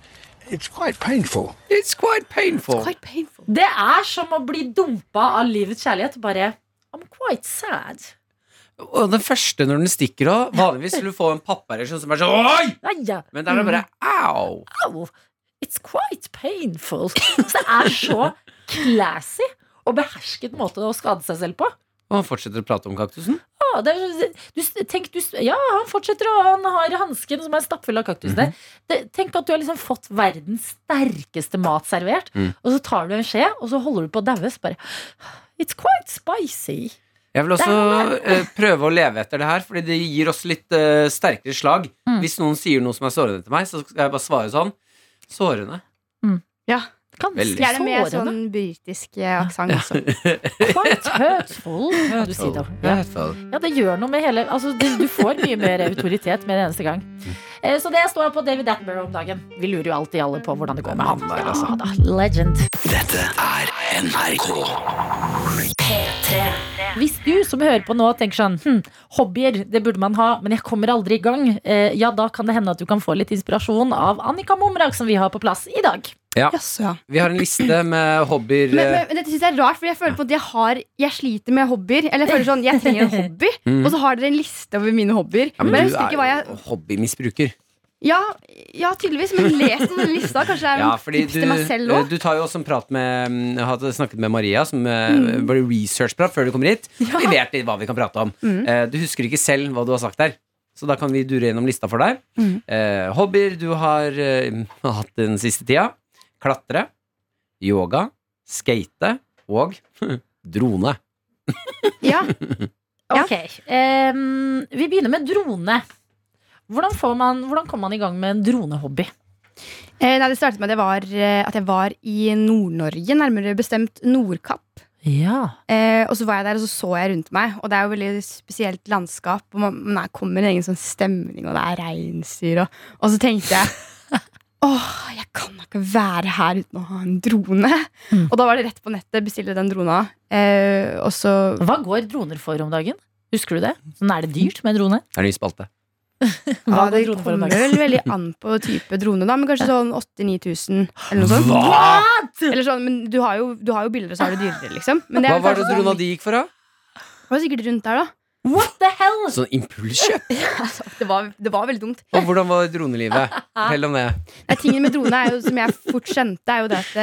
L: It's quite painful.
C: It's quite painful.
G: Quite painful.
B: Det er som å bli dumpa av livets kjærlighet. Bare I'm quite sad.
C: Og den første når den stikker av Vanligvis vil du få en pappareaksjon som er sånn Oi!
B: Nei, ja.
C: Men der er det bare au.
B: Au! It's quite painful. Så det er så classy og behersket måte å skade seg selv på.
C: Og han fortsetter å prate om kaktusen.
B: Ja, det er, du, tenk, du, ja, han fortsetter, og han har hansken som er stappfull av kaktusene. det, tenk at du har liksom fått verdens sterkeste mat servert,
C: Mhm.
B: og så tar du en skje, og så holder du på å daue. så bare, It's quite spicy.
C: Jeg vil også eh, prøve å leve etter det her, fordi det gir oss litt eh, sterkere slag.
B: Mm.
C: Hvis noen sier noe som er sårende til meg, så skal jeg bare svare sånn. Sårende.
B: Ganske
C: Veldig.
G: Jeg er det med
B: sårende.
G: sånn britisk aksent også. *laughs*
B: Quite hurtful, må du si da. Ja. Ja, det gjør noe med hele altså, du, du får mye mer autoritet med det eneste gang. Eh, Så det står på David Attenborough om dagen. Vi lurer jo alltid alle på hvordan det går med han. Ja, da, legend.
J: Dette er NRK.
B: P3. Hvis du som hører på nå tenker sånn hm, Hobbyer, det burde man ha, men jeg kommer aldri i gang. Eh, ja, da kan det hende at du kan få litt inspirasjon av Annika Momrak, som vi har på plass i dag.
C: Ja.
G: Jaså, ja.
C: Vi har en liste med hobbyer. eh,
G: Men, men, men dette synes jeg er rart, for jeg føler på at jeg, har, jeg sliter med hobbyer. Eller jeg føler sånn, jeg trenger en
B: *laughs*
G: hobby,
C: Mm.
G: og så har dere en liste over mine hobbyer.
C: Ja, men
G: men,
C: du
G: jeg husker
C: er
G: ikke hva jeg
C: jo hobbymisbruker.
G: Ja, ja tydeligvis. Men les den lista. Kanskje det er
C: *laughs* Ja,
G: noen
C: fordi
G: tips
C: du, eh,
G: til meg selv òg.
C: du tar jo også en prat med mm, Jeg hadde snakket med Maria, som eh,
G: Mm.
C: var i researchprat før du kommer hit. Vi vet litt hva vi kan prate om.
G: Mm.
C: Eh, Du husker ikke selv hva du har sagt der. Så da kan vi dure gjennom lista for deg.
G: Mm.
C: Eh, hobbyer du har eh, *laughs* hatt den siste tida. Klatre. Yoga. Skate. Og *laughs* drone. eh,
G: Ja. Ja.
B: Ok, em, Vi begynner med drone. Hvordan, får man, hvordan kommer man i gang med en dronehobby?
G: Eh, nei, det startet med at jeg var, eh, at jeg var i Nord-Norge, nærmere bestemt Nordkapp.
B: Ja.
G: Eh, og så var jeg der, og så så jeg rundt meg. Og det er jo veldig spesielt landskap. Og man, man er- kommer i en egen sånn stemning, og det er reinsdyr. Og, og så tenkte jeg
C: *laughs*
G: Åh, jeg kan da ikke være her uten å ha en drone.
C: Mm.
G: Og da var det rett på nettet. Bestille den drona. Eh, og så
B: Hva går droner for om dagen? Husker du det? Sånn, er det dyrt med en drone?
C: Det er en ny spalte.
B: Hva
G: Ja, det
B: går droner for om
G: kommer
B: dagen?
C: *laughs*
G: vel veldig an på type drone, da, men kanskje sånn 8000-9000 eller noe sånt. Eller sånn, men du har, jo, du har jo billigere, så er det dyrere, liksom. Men
C: Hva
G: er
C: var det
G: kanskje
C: drona
G: sånn-
C: di gikk for, da?
G: Det var sikkert rundt der, da.
B: What the hell?
C: Sånn impulskjøp.
G: *laughs* Altså, det, var, det var veldig dumt.
C: Og hvordan var dronelivet? Fortell om det.
G: Nei, tingen med drone er jo, som jeg fort skjønte, er jo det at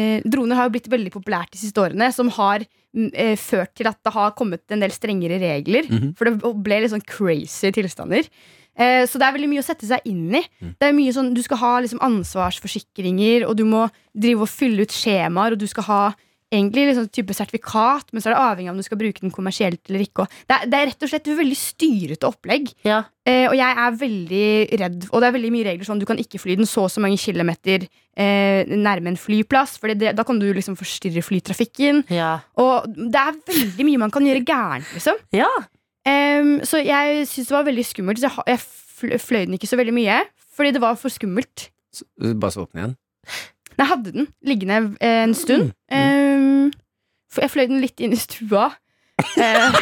G: eh, droner har jo blitt veldig populært de siste årene, som har mm, eh, ført til at det har kommet en del strengere regler.
C: Mhm.
G: For det ble litt sånn crazy tilstander. Eh, så det er veldig mye å sette seg inn i. Det er mye sånn, Du skal ha liksom ansvarsforsikringer, og du må drive og fylle ut skjemaer, og du skal ha egentlig liksom type sertifikat, men så er det avhengig av om du skal bruke den kommersielt eller ikke. Og Det er, det er rett og slett et veldig styrete opplegg.
B: Ja.
G: Eh, og jeg er veldig redd, og det er veldig mye regler sånn du kan ikke fly den så og så mange kilometer eh, nærme en flyplass, for det, da kan du liksom forstyrre flytrafikken.
B: Ja.
G: Og det er veldig mye man kan gjøre gærent, liksom.
B: ja.
G: Em, så jeg syns det var veldig skummelt. Så jeg, ha- jeg fl- fløy den ikke så veldig mye, fordi det var for skummelt.
C: Så, bare så åpne igjen.
G: Nei, jeg hadde den liggende eh, en stund.
B: Mm.
G: Em, for jeg fløy den litt inn i
B: *laughs*
G: stua. Eh,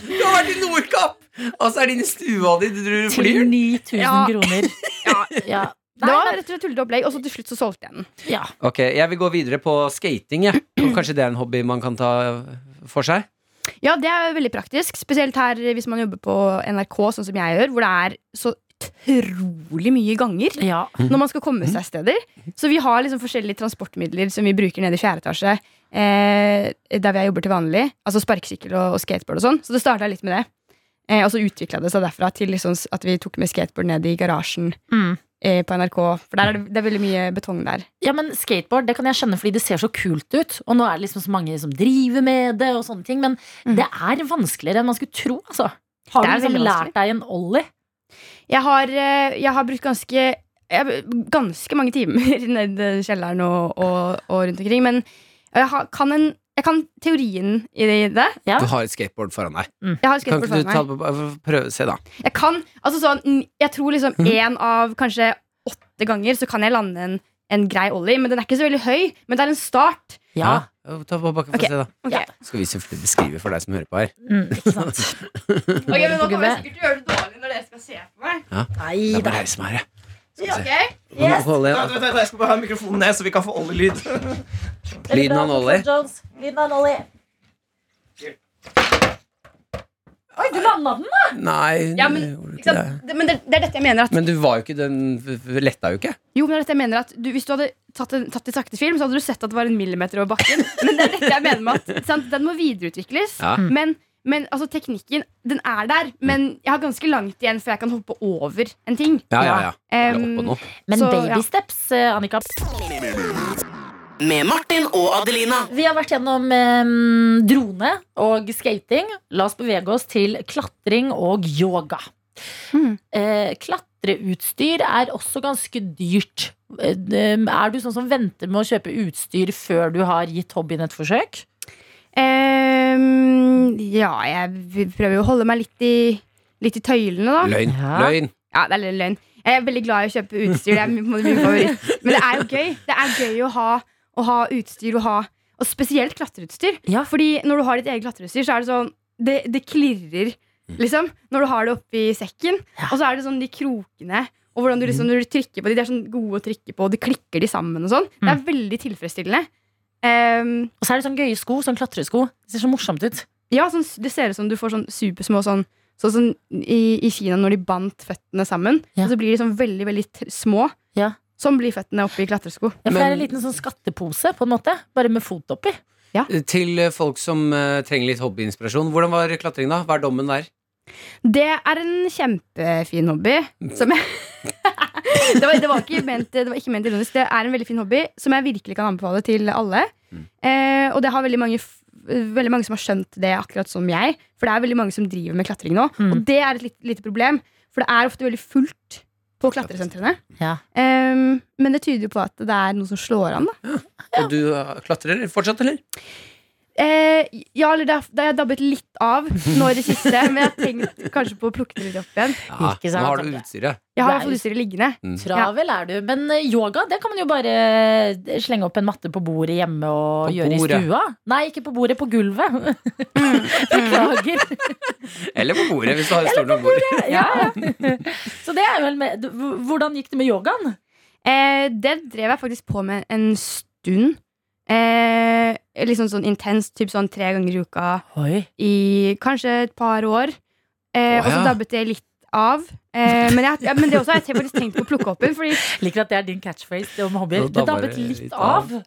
C: Du har vært i Nordkapp! Og så er det inni stua di du driver og
B: Til
C: flyr.
B: 9000
G: Ja.
B: kroner.
G: ja.
B: Ja.
G: Det
B: Nei,
G: var
B: men-
G: rett og slett tullete opplegg, og så til slutt så solgte jeg den.
B: ja.
C: Ok, Jeg vil gå videre på skating. *clears throat* jeg. Og Kanskje det er en hobby man kan ta for seg?
G: Ja, det er veldig praktisk. Spesielt her hvis man jobber på NRK, sånn som jeg gjør, hvor det er så utrolig mye ganger
B: ja.
G: når man skal komme seg steder. Så vi har liksom forskjellige transportmidler som vi bruker nede i fjerde etasje, eh, der jeg jobber til vanlig. Altså sparkesykkel og, og skateboard og sånn. Så det starta litt med det. Eh, og så utvikla det seg derfra til liksom s- at vi tok med skateboard ned i garasjen
B: Mm.
G: eh, på NRK. For der er det, det er veldig mye betong der.
B: Ja, men skateboard det kan jeg skjønne fordi det ser så kult ut. Og nå er det liksom så mange som driver med det, og sånne ting. Men
G: Mm.
B: det er vanskeligere enn man skulle tro, altså. Har
G: Det
B: du
G: er
B: liksom
G: veldig vanskelig.
B: lært deg en ollie?
G: Jeg har, eh, jeg har brukt ganske jeg, har brukt ganske mange timer *laughs* ned i kjelleren og, og, og rundt omkring. Men jeg, har, kan en, jeg kan teorien i det. Jeg
B: Ja.
C: Du har et skateboard foran deg.
G: har
C: Kan
G: skateboard
C: ikke du ta
G: foran meg.
C: det på, prøve se, da?
G: Jeg kan, altså sånn, n- jeg tror liksom
C: Mhm.
G: én av kanskje åtte ganger så kan jeg lande en, en grei ollie. Men den er ikke så veldig høy, men det er en start.
B: Ja.
C: Ja, Ta på bakken for å
G: Ok.
C: se, da.
G: Ok,
B: Ja.
C: Skal vi selvfølgelig beskrive for deg som hører på her.
B: Mm, ikke sant?
G: *laughs* Ok, men Nå kommer jeg sikkert til å gjøre det dårlig når dere skal se på meg.
B: Nei
C: Jeg må
B: da.
C: reise meg her, jeg.
G: Ja,
C: Skal vi se.
G: ok.
C: Nå holder
E: Vent,
C: jeg-
E: vent, vent, Jeg skal bare ha mikrofonen ned, så vi kan få oljelyd.
C: Lyden av en ollie.
B: Jones. Lyden av en ollie. Oi, du landa den, da!
C: Nei,
G: Ja, men,
C: det gjorde du
G: ikke
C: ikke
G: sant?
C: det.
G: Det- men det, det er dette jeg mener. at
C: Men du var jo ikke den Letta jo ikke.
G: Jo, men det er dette jeg mener at du, Hvis du hadde tatt, en, tatt i sakte film, så hadde du sett at det var en millimeter over bakken. Men det er dette jeg mener med at sant? Den må videreutvikles.
C: Ja. Mm.
G: Men, men altså, teknikken den er der, men jeg har ganske langt igjen før jeg kan hoppe over en ting.
C: Ja, ja, ja. Eller
G: Em,
C: oppå noe.
B: Men
G: Så, ja.
B: babysteps, eh, Annika.
H: Med Martin og Adelina.
B: Vi har vært gjennom eh, drone og skating. La oss bevege oss til klatring og yoga.
G: Mm.
B: Eh, klatreutstyr er også ganske dyrt. Eh, er du sånn som venter med å kjøpe utstyr før du har gitt hobbyen et forsøk?
G: em, Ehm, ja, jeg prøver jo å holde meg litt i, litt i tøylene, da.
C: Løgn.
B: Ja.
C: Løgn.
G: Ja, det er litt løgn. Jeg er veldig glad i å kjøpe utstyr. Det er min, min favoritt. Men det er jo gøy. Det er gøy å ha, å ha utstyr og ha Og spesielt klatreutstyr. Fordi når du har ditt eget klatreutstyr, så er det sånn Det, det klirrer, liksom. Når du har det oppi sekken. Og så er det sånn de krokene. Og hvordan du liksom, når du trykker på de, de er sånn gode å trykke på, og du klikker de sammen og sånn. Det er veldig tilfredsstillende. Ehm,
B: og så er det sånn gøye sko, sånn klatresko. Det ser så morsomt ut.
G: Ja, sånn, det ser ut som du får sånn supersmå sånn Sånn som i, i Kina når de bandt føttene sammen. Og så blir de sånn veldig, veldig t små. Sånn blir føttene oppi klatresko.
B: Ja, for det er en liten sånn skattepose, på en måte, bare med fot oppi.
C: Til eh, folk som eh, trenger litt hobbyinspirasjon. Hvordan var klatring, da? Hva er dommen der?
G: Det er en kjempefin hobby. Som jeg *laughs* det, var, det, var ikke ment, det var ikke ment ironisk. Det er en veldig fin hobby som jeg virkelig kan anbefale til alle. Eh, og det har veldig mange, f- veldig mange som har skjønt det, akkurat som jeg. For det er veldig mange som driver med klatring nå.
B: Mm.
G: Og det er et lite, lite problem, for det er ofte veldig fullt på klatresentrene.
B: Ja.
G: Eh, men det tyder jo på at det er noe som slår an, da.
C: Og du eh, klatrer fortsatt, eller?
G: Eh, ja, eller det har- det har jeg dabbet litt av nå i det siste. Men jeg har tenkt kanskje på å plukke det litt opp igjen.
C: Ja,
B: Ikke
C: Ah, nå
B: sant?
C: har du utstyret.
G: Jeg har i
B: Det er
G: hvert fall utstyret liggende.
B: Travel er du. Men eh, yoga, det kan man jo bare eh, slenge opp en matte på bordet hjemme og
C: På
B: gjøre
C: bordet.
B: i stua. Nei, ikke på bordet, på gulvet. *laughs* Beklager.
C: Eller på bordet, hvis du har et stort nok bord.
B: Ja, ja. Så det er vel med du- Hvordan gikk det med yogaen?
G: Eh, det drev jeg faktisk på med en stund. Eh, liksom sånn intenst, typ sånn tre ganger i uka
B: Oi.
G: i kanskje et par år. Eh,
C: Å,
G: Og så
C: ja.
G: dabbet det litt av. Eh, men, jeg, ja, men det også har jeg faktisk tenkt på å plukke opp igjen. Fordi
B: Liker at det er din catchphrase det om hobbyer.
C: Nå
B: Det
C: dabber
B: dabbet
C: det
B: litt
C: litt
B: av.
C: av.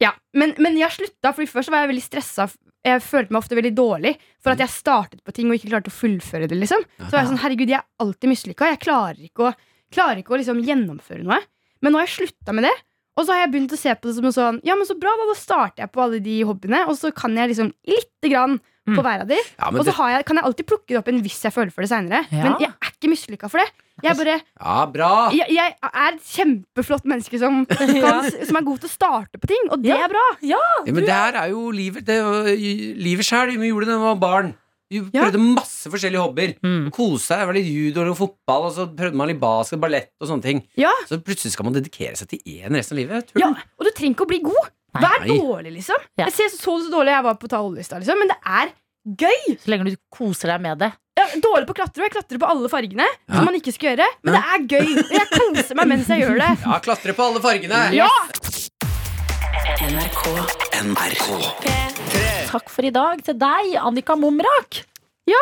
G: Ja, men, men jeg slutta, fordi først så var jeg veldig stressa. Jeg følte meg ofte veldig dårlig for at jeg startet på ting og ikke klarte å fullføre det. liksom Så var jeg sånn, herregud, jeg er alltid mislykka. Jeg klarer ikke å, klarer ikke å liksom gjennomføre noe. Men nå har jeg slutta med det. Og så har jeg begynt å se på det som en sånn Ja, men så bra, da, da starter jeg på alle de hobbyene, og så kan jeg liksom lite grann på hver av de.
C: *laughs* Ja,
G: Og
C: men
G: så
C: det,
G: har jeg, kan jeg alltid plukke det opp igjen hvis jeg føler for det seinere.
B: Ja.
G: Men jeg er ikke mislykka for det. Jeg er bare
C: ja, bra!
G: jeg, jeg er et kjempeflott menneske som, kan, som er god til å starte på ting, og det
B: Ja.
G: er bra.
C: Ja, men det her er jo livet det, var- y- Livet sjøl. Vi gjorde det da vi var barn. Vi
G: Ja.
C: prøvde masse forskjellige hobbyer.
B: Mm.
C: Kose seg. Det var litt judo og fotball, og så prøvde man litt basket, ballett og sånne ting.
G: Ja.
C: Så plutselig skal man dedikere seg til én resten av livet. Tull.
G: Ja, og du trenger ikke å bli god. Vær
C: Nei.
G: dårlig, liksom.
B: Ja.
G: Jeg ser så, så dårlig jeg var på å ta oljelista, liksom. Men det er gøy!
B: Så lenge du koser deg med det.
G: Jeg er dårlig på å klatre, og jeg klatrer på alle fargene.
C: Ja.
G: Som man ikke skal gjøre. Men det er gøy. Og jeg koser meg mens jeg gjør det.
C: Ja, klatre på alle fargene!
G: Ja!
L: NRK.
B: Takk for i dag til deg, Annika Mumrak.
G: ja,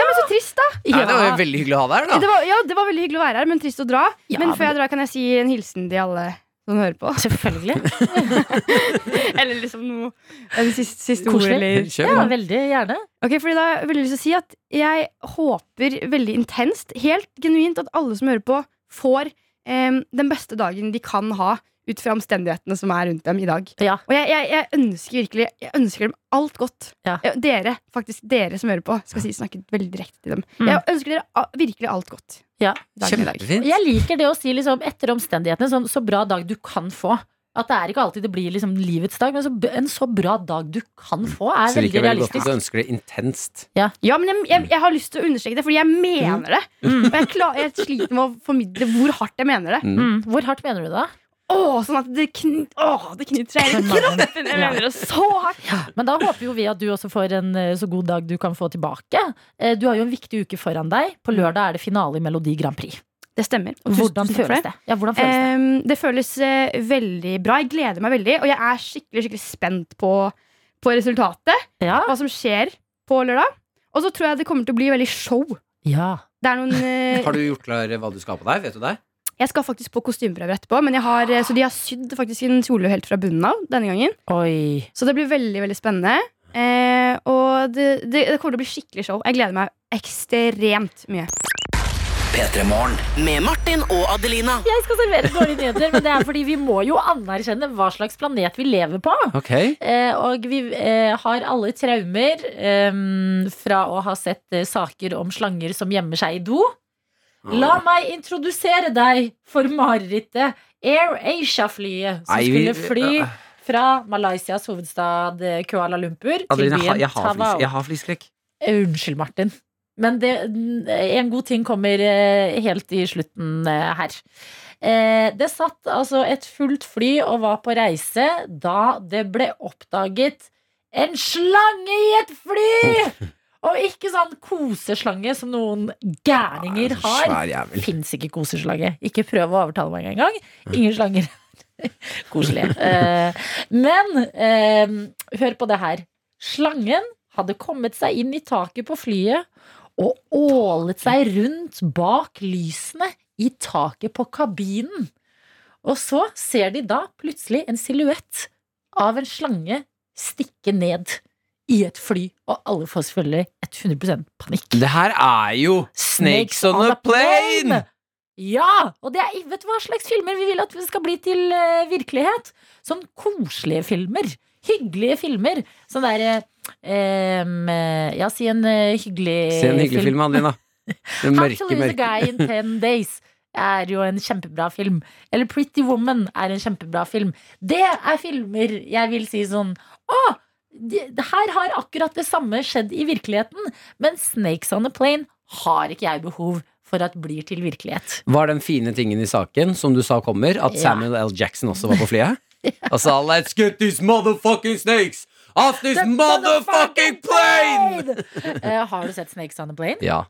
G: men så trist, da.
C: Nei, det var jo veldig hyggelig å ha deg her,
G: Det
C: da.
G: var, ja, det var veldig hyggelig å være her, men trist å dra.
B: Ja,
G: men
B: men-
G: før jeg drar, kan jeg si en hilsen til alle som
C: *laughs*
G: hører på.
B: Selvfølgelig.
G: Eller liksom noe en siste, siste ord,
B: Koselig.
G: eller
C: Kjør.
B: Ja, veldig gjerne.
G: Ok, fordi da vil jeg lyst til å si at jeg håper veldig intenst, helt genuint, at alle som hører på, får em, den beste dagen de kan ha ut fra omstendighetene som er rundt dem i dag.
B: Ja.
G: Og jeg, jeg, jeg ønsker virkelig Jeg ønsker dem alt godt.
B: Ja.
G: Jeg- Dere faktisk, dere som hører på, skal si snakket veldig direkte til dem.
B: Mm.
G: Jeg ønsker dere a- virkelig alt godt.
B: Ja.
G: Dagen i dag.
C: Kjempefint.
B: Jeg liker det å si liksom, etter omstendighetene sånn, så bra dag du kan få. At det er ikke alltid det blir liksom, livets dag, men så, b- en så bra dag du kan få, er
C: Så
B: veldig
C: liker jeg veldig godt at
B: realistisk.
C: du ønsker det intenst.
G: Ja, men jeg, jeg, jeg har lyst til å understreke det, fordi jeg mener det. Og jeg, klar, jeg sliter med å formidle hvor hardt jeg mener det.
B: Mm. Hvor hardt mener du det?
G: Åh, sånn at det, kn åh, det knyter seg i hele kroppen. Jeg mener det så hardt.
B: Men da håper jo vi at du også får en eh, så god dag du kan få tilbake. Eh, Du har jo en viktig uke foran deg. På lørdag er det finale i Melodi Grand Prix.
G: Det stemmer. Og tusen-
B: Hvordan
G: tusen takk for
B: føles det? Ja, hvordan føles det?
G: Ehm, det føles eh, veldig bra. Jeg gleder meg veldig, og jeg er skikkelig skikkelig spent på, på resultatet.
B: Ja.
G: Hva som skjer på lørdag. Og så tror jeg det kommer til å bli veldig show.
B: ja.
G: Det er noen, eh,
C: Har du gjort klar hva du skal ha på deg? Vet du det?
G: jeg skal faktisk på kostymeprøver etterpå, men jeg har, eh, så de har sydd faktisk en kjole helt fra bunnen av denne gangen.
B: Oi.
G: Så det blir veldig veldig spennende. Eh, og det, det, det kommer til å bli skikkelig show. Jeg gleder meg ekstremt mye.
L: P3 Morgen.
H: Med Martin og Adelina.
B: Jeg skal servere dårlige nyheter, men det er fordi vi må jo anerkjenne hva slags planet vi lever på.
C: Ok.
B: Eh, og vi eh, har alle traumer eh, fra å ha sett eh, saker om slanger som gjemmer seg i do.
C: Ah.
B: La meg introdusere deg for marerittet Air Asia-flyet som
C: Nei, vi-
B: skulle fly fra Malaysias hovedstad eh, Kuala Lumpur til
C: Adeline, jeg har-
B: byen
C: jeg har flis-
B: Tawau.
C: jeg har fliskrekk.
B: Eh, Unnskyld, Martin. Men det, en god ting kommer eh, helt i slutten eh, her. Eh, Det satt altså et fullt fly og var på reise da det ble oppdaget en slange i et fly! Og ikke sånn koseslange som noen gærninger har.
C: Svær jævel.
B: Fins ikke koseslange. Ikke prøv å overtale meg engang. Ingen slanger. *laughs* Koselig. Eh, men eh, hør på det her. Slangen hadde kommet seg inn i taket på flyet og ålet seg rundt bak lysene i taket på kabinen. Og så ser de da plutselig en silhuett av en slange stikke ned i et fly, og alle får selvfølgelig 100 panikk.
C: Det her er jo Snakes on a plane!
B: Ja! Og det er, vet du hva slags filmer vi vil at det skal bli til eh, virkelighet? Sånn koselige filmer. Hyggelige filmer. Sånn derre Ja, si en eh, hyggelig
C: Se en hyggelig film,
B: *laughs*
C: Adelina. Den
B: How
C: mørke,
B: to Lose a
C: mørke
B: Guy in
C: *laughs*
B: 10 Days er jo en kjempebra film. Eller Pretty Woman er en kjempebra film. Det er filmer jeg vil si sånn Å! Det, det her har akkurat det samme skjedd i virkeligheten. Men Snakes on a Plane har ikke jeg behov for at blir til virkelighet.
C: Var den fine tingen i saken som du sa kommer, at
B: Ja.
C: Samuel L. Jackson også var på
B: *laughs*
C: flyet? Og sa 'let's get these motherfucking snakes off this
B: The
C: motherfucking plane'!
B: *laughs* Eh, har du sett Snakes on a Plane?
C: Ja.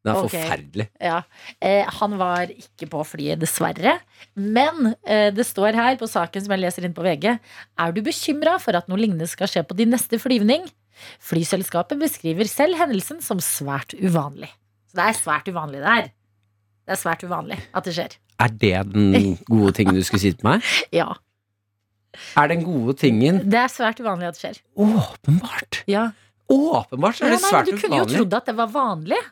C: Den er
B: Ok.
C: forferdelig.
B: Ja. Eh, han var ikke på flyet, dessverre. Men eh, det står her på saken som jeg leser inn på VG Er du bekymra for at noe lignende skal skje på din neste flyvning? Flyselskapet beskriver selv hendelsen som svært uvanlig. Så det er svært uvanlig, det her. Det er svært uvanlig at det skjer.
C: Er det den gode tingen du skulle si til meg?
B: Ja.
C: Er den gode tingen
B: Det er svært uvanlig at det skjer.
C: åpenbart?
B: Ja.
C: Åpenbart så
B: Ja,
C: er det
B: nei,
C: svært
B: men du kunne jo
C: uvanlig.
B: trodd at det var vanlig. *laughs*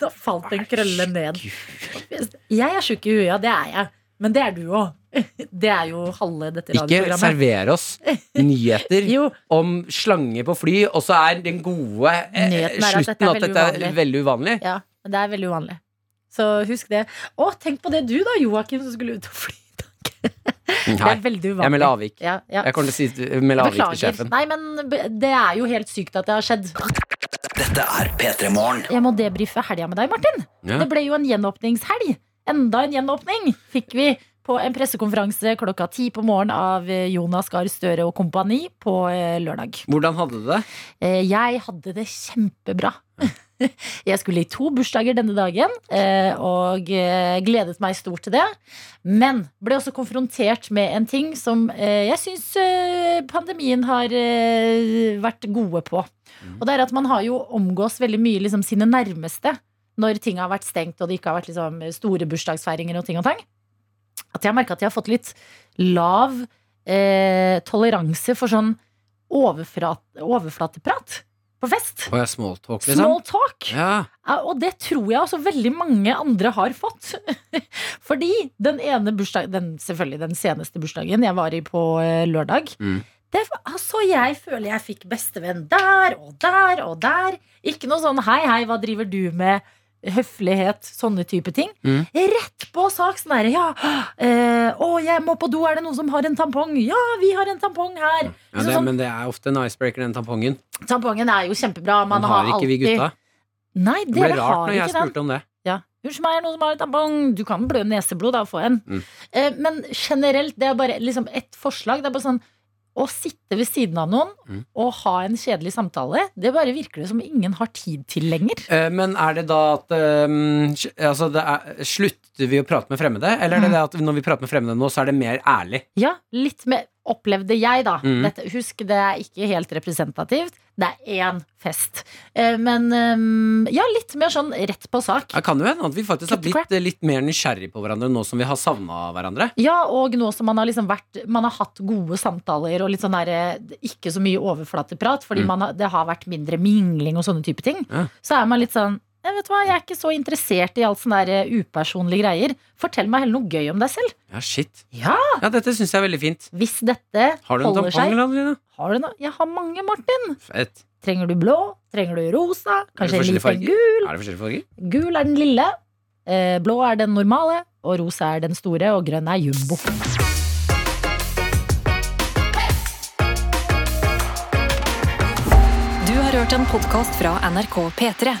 B: da falt en krølle ned. Jeg er sjuk i huet, ja, det er jeg. Men det er du òg. *laughs* Det er jo halve dette
C: Ikke
B: radioprogrammet.
C: server oss nyheter
B: *laughs* Jo,
C: om slanger på fly, og så er den gode eh,
B: Nyheten er at dette
C: slutten
B: er
C: at dette er
B: veldig
C: veldig uvanlig.
B: ja, men det er veldig uvanlig. Så husk det. Å, tenk på det du da, Joakim, som skulle ut og fly. i dag. Det
C: Nei,
B: er veldig uvanlig.
C: jeg melder avvik.
B: Ja, ja.
C: Jeg kommer til å si eh, melde avvik til
B: Beklager.
C: sjefen.
B: Nei, men be- det er jo helt sykt at det har skjedd.
L: Dette er P3 Morgen.
B: Jeg må debrife helga med deg, Martin.
C: Ja.
B: Det ble jo en gjenåpningshelg. Enda en gjenåpning fikk vi på en pressekonferanse klokka ti på morgen av eh, Jonas Gahr Støre og kompani på eh, lørdag.
C: Hvordan hadde du det?
B: Eh, Jeg hadde det kjempebra. Jeg skulle i to bursdager denne dagen eh, og eh, gledet meg stort til det. Men ble også konfrontert med en ting som eh, jeg syns pandemien har eh, vært gode på. Og det er at man har jo omgås veldig mye liksom, sine nærmeste når ting har vært stengt og det ikke har vært liksom, store bursdagsfeiringer og ting og tang. At jeg har merka at jeg har fått litt lav eh, toleranse for sånn overfrat, overflateprat på fest.
C: Å, jeg smalltalk, liksom?
B: Small talk.
C: Ja.
B: Ja, Og det tror jeg også veldig mange andre har fått. *laughs* Fordi den ene bursdagen, den, selvfølgelig den seneste bursdagen jeg var i på eh, lørdag,
C: Mm.
B: det, altså jeg føler jeg fikk bestevenn der og der og der. Ikke noe sånn hei, hei, hva driver du med? Høflighet, sånne type ting.
C: Mm.
B: Rett på sak. Sånn derre ja, eh, å, jeg må på do, er det noen som har en tampong? Ja, vi har en tampong her.
C: Ja,
B: Liksom
C: det,
B: sånn-
C: men det er ofte en icebreaker, den tampongen.
B: Tampongen er jo kjempebra. Man
C: Den
B: har
C: har ikke vi
B: alltid-
C: gutta.
B: Nei,
C: Det ble
B: dere
C: rart
B: har
C: når jeg
B: ikke den.
C: spurte om det.
B: Ja. Unnskyld meg, er det noen som har en tampong? Du kan blø neseblod, da, og få en.
C: Mm.
B: Eh, men generelt, det er bare liksom ett forslag. Det er bare sånn å sitte ved siden av noen
C: Mm.
B: og ha en kjedelig samtale, det bare virker det som ingen har tid til lenger.
C: Eh, Men er det da at ehm, sj- altså det er, Slutter vi å prate med fremmede, eller er det
B: Mm.
C: det at når vi prater med fremmede nå, så er det mer ærlig?
B: Ja, litt mer opplevde jeg, da.
C: Mm.
B: Dette, husk, det er ikke helt representativt. Det er én fest. Eh, men eh, ja, litt mer sånn rett på sak.
C: Det kan jo hende at vi faktisk har
B: Cut the crap.
C: blitt eh, litt mer nysgjerrig på hverandre nå som vi har savna hverandre.
B: Ja, og nå som man har liksom vært Man har hatt gode samtaler og litt sånn der, ikke så mye overflateprat, fordi
C: Mm.
B: man har, det har vært mindre mingling og sånne type ting,
C: Ja.
B: så er man litt sånn jeg vet du hva, jeg er ikke så interessert i alt sånne der eh, upersonlige greier. Fortell meg heller noe gøy om deg selv.
C: Ja, shit.
B: Ja,
C: Ja, dette syns jeg er veldig fint.
B: Hvis dette
C: Har du en
B: holder
C: tampong,
B: seg
C: eller, Adelina?
B: Har du noe? Jeg har mange, Martin.
C: Fett.
B: Trenger du blå? Trenger du rosa? Kanskje en
C: forskjellige
B: liten
C: farger?
B: gul?
C: Er det forskjellige farger?
B: Gul er den lille, eh, blå er den normale, og rosa er den store, og grønn er jumbo.
A: Du har hørt en podkast fra NRK P3.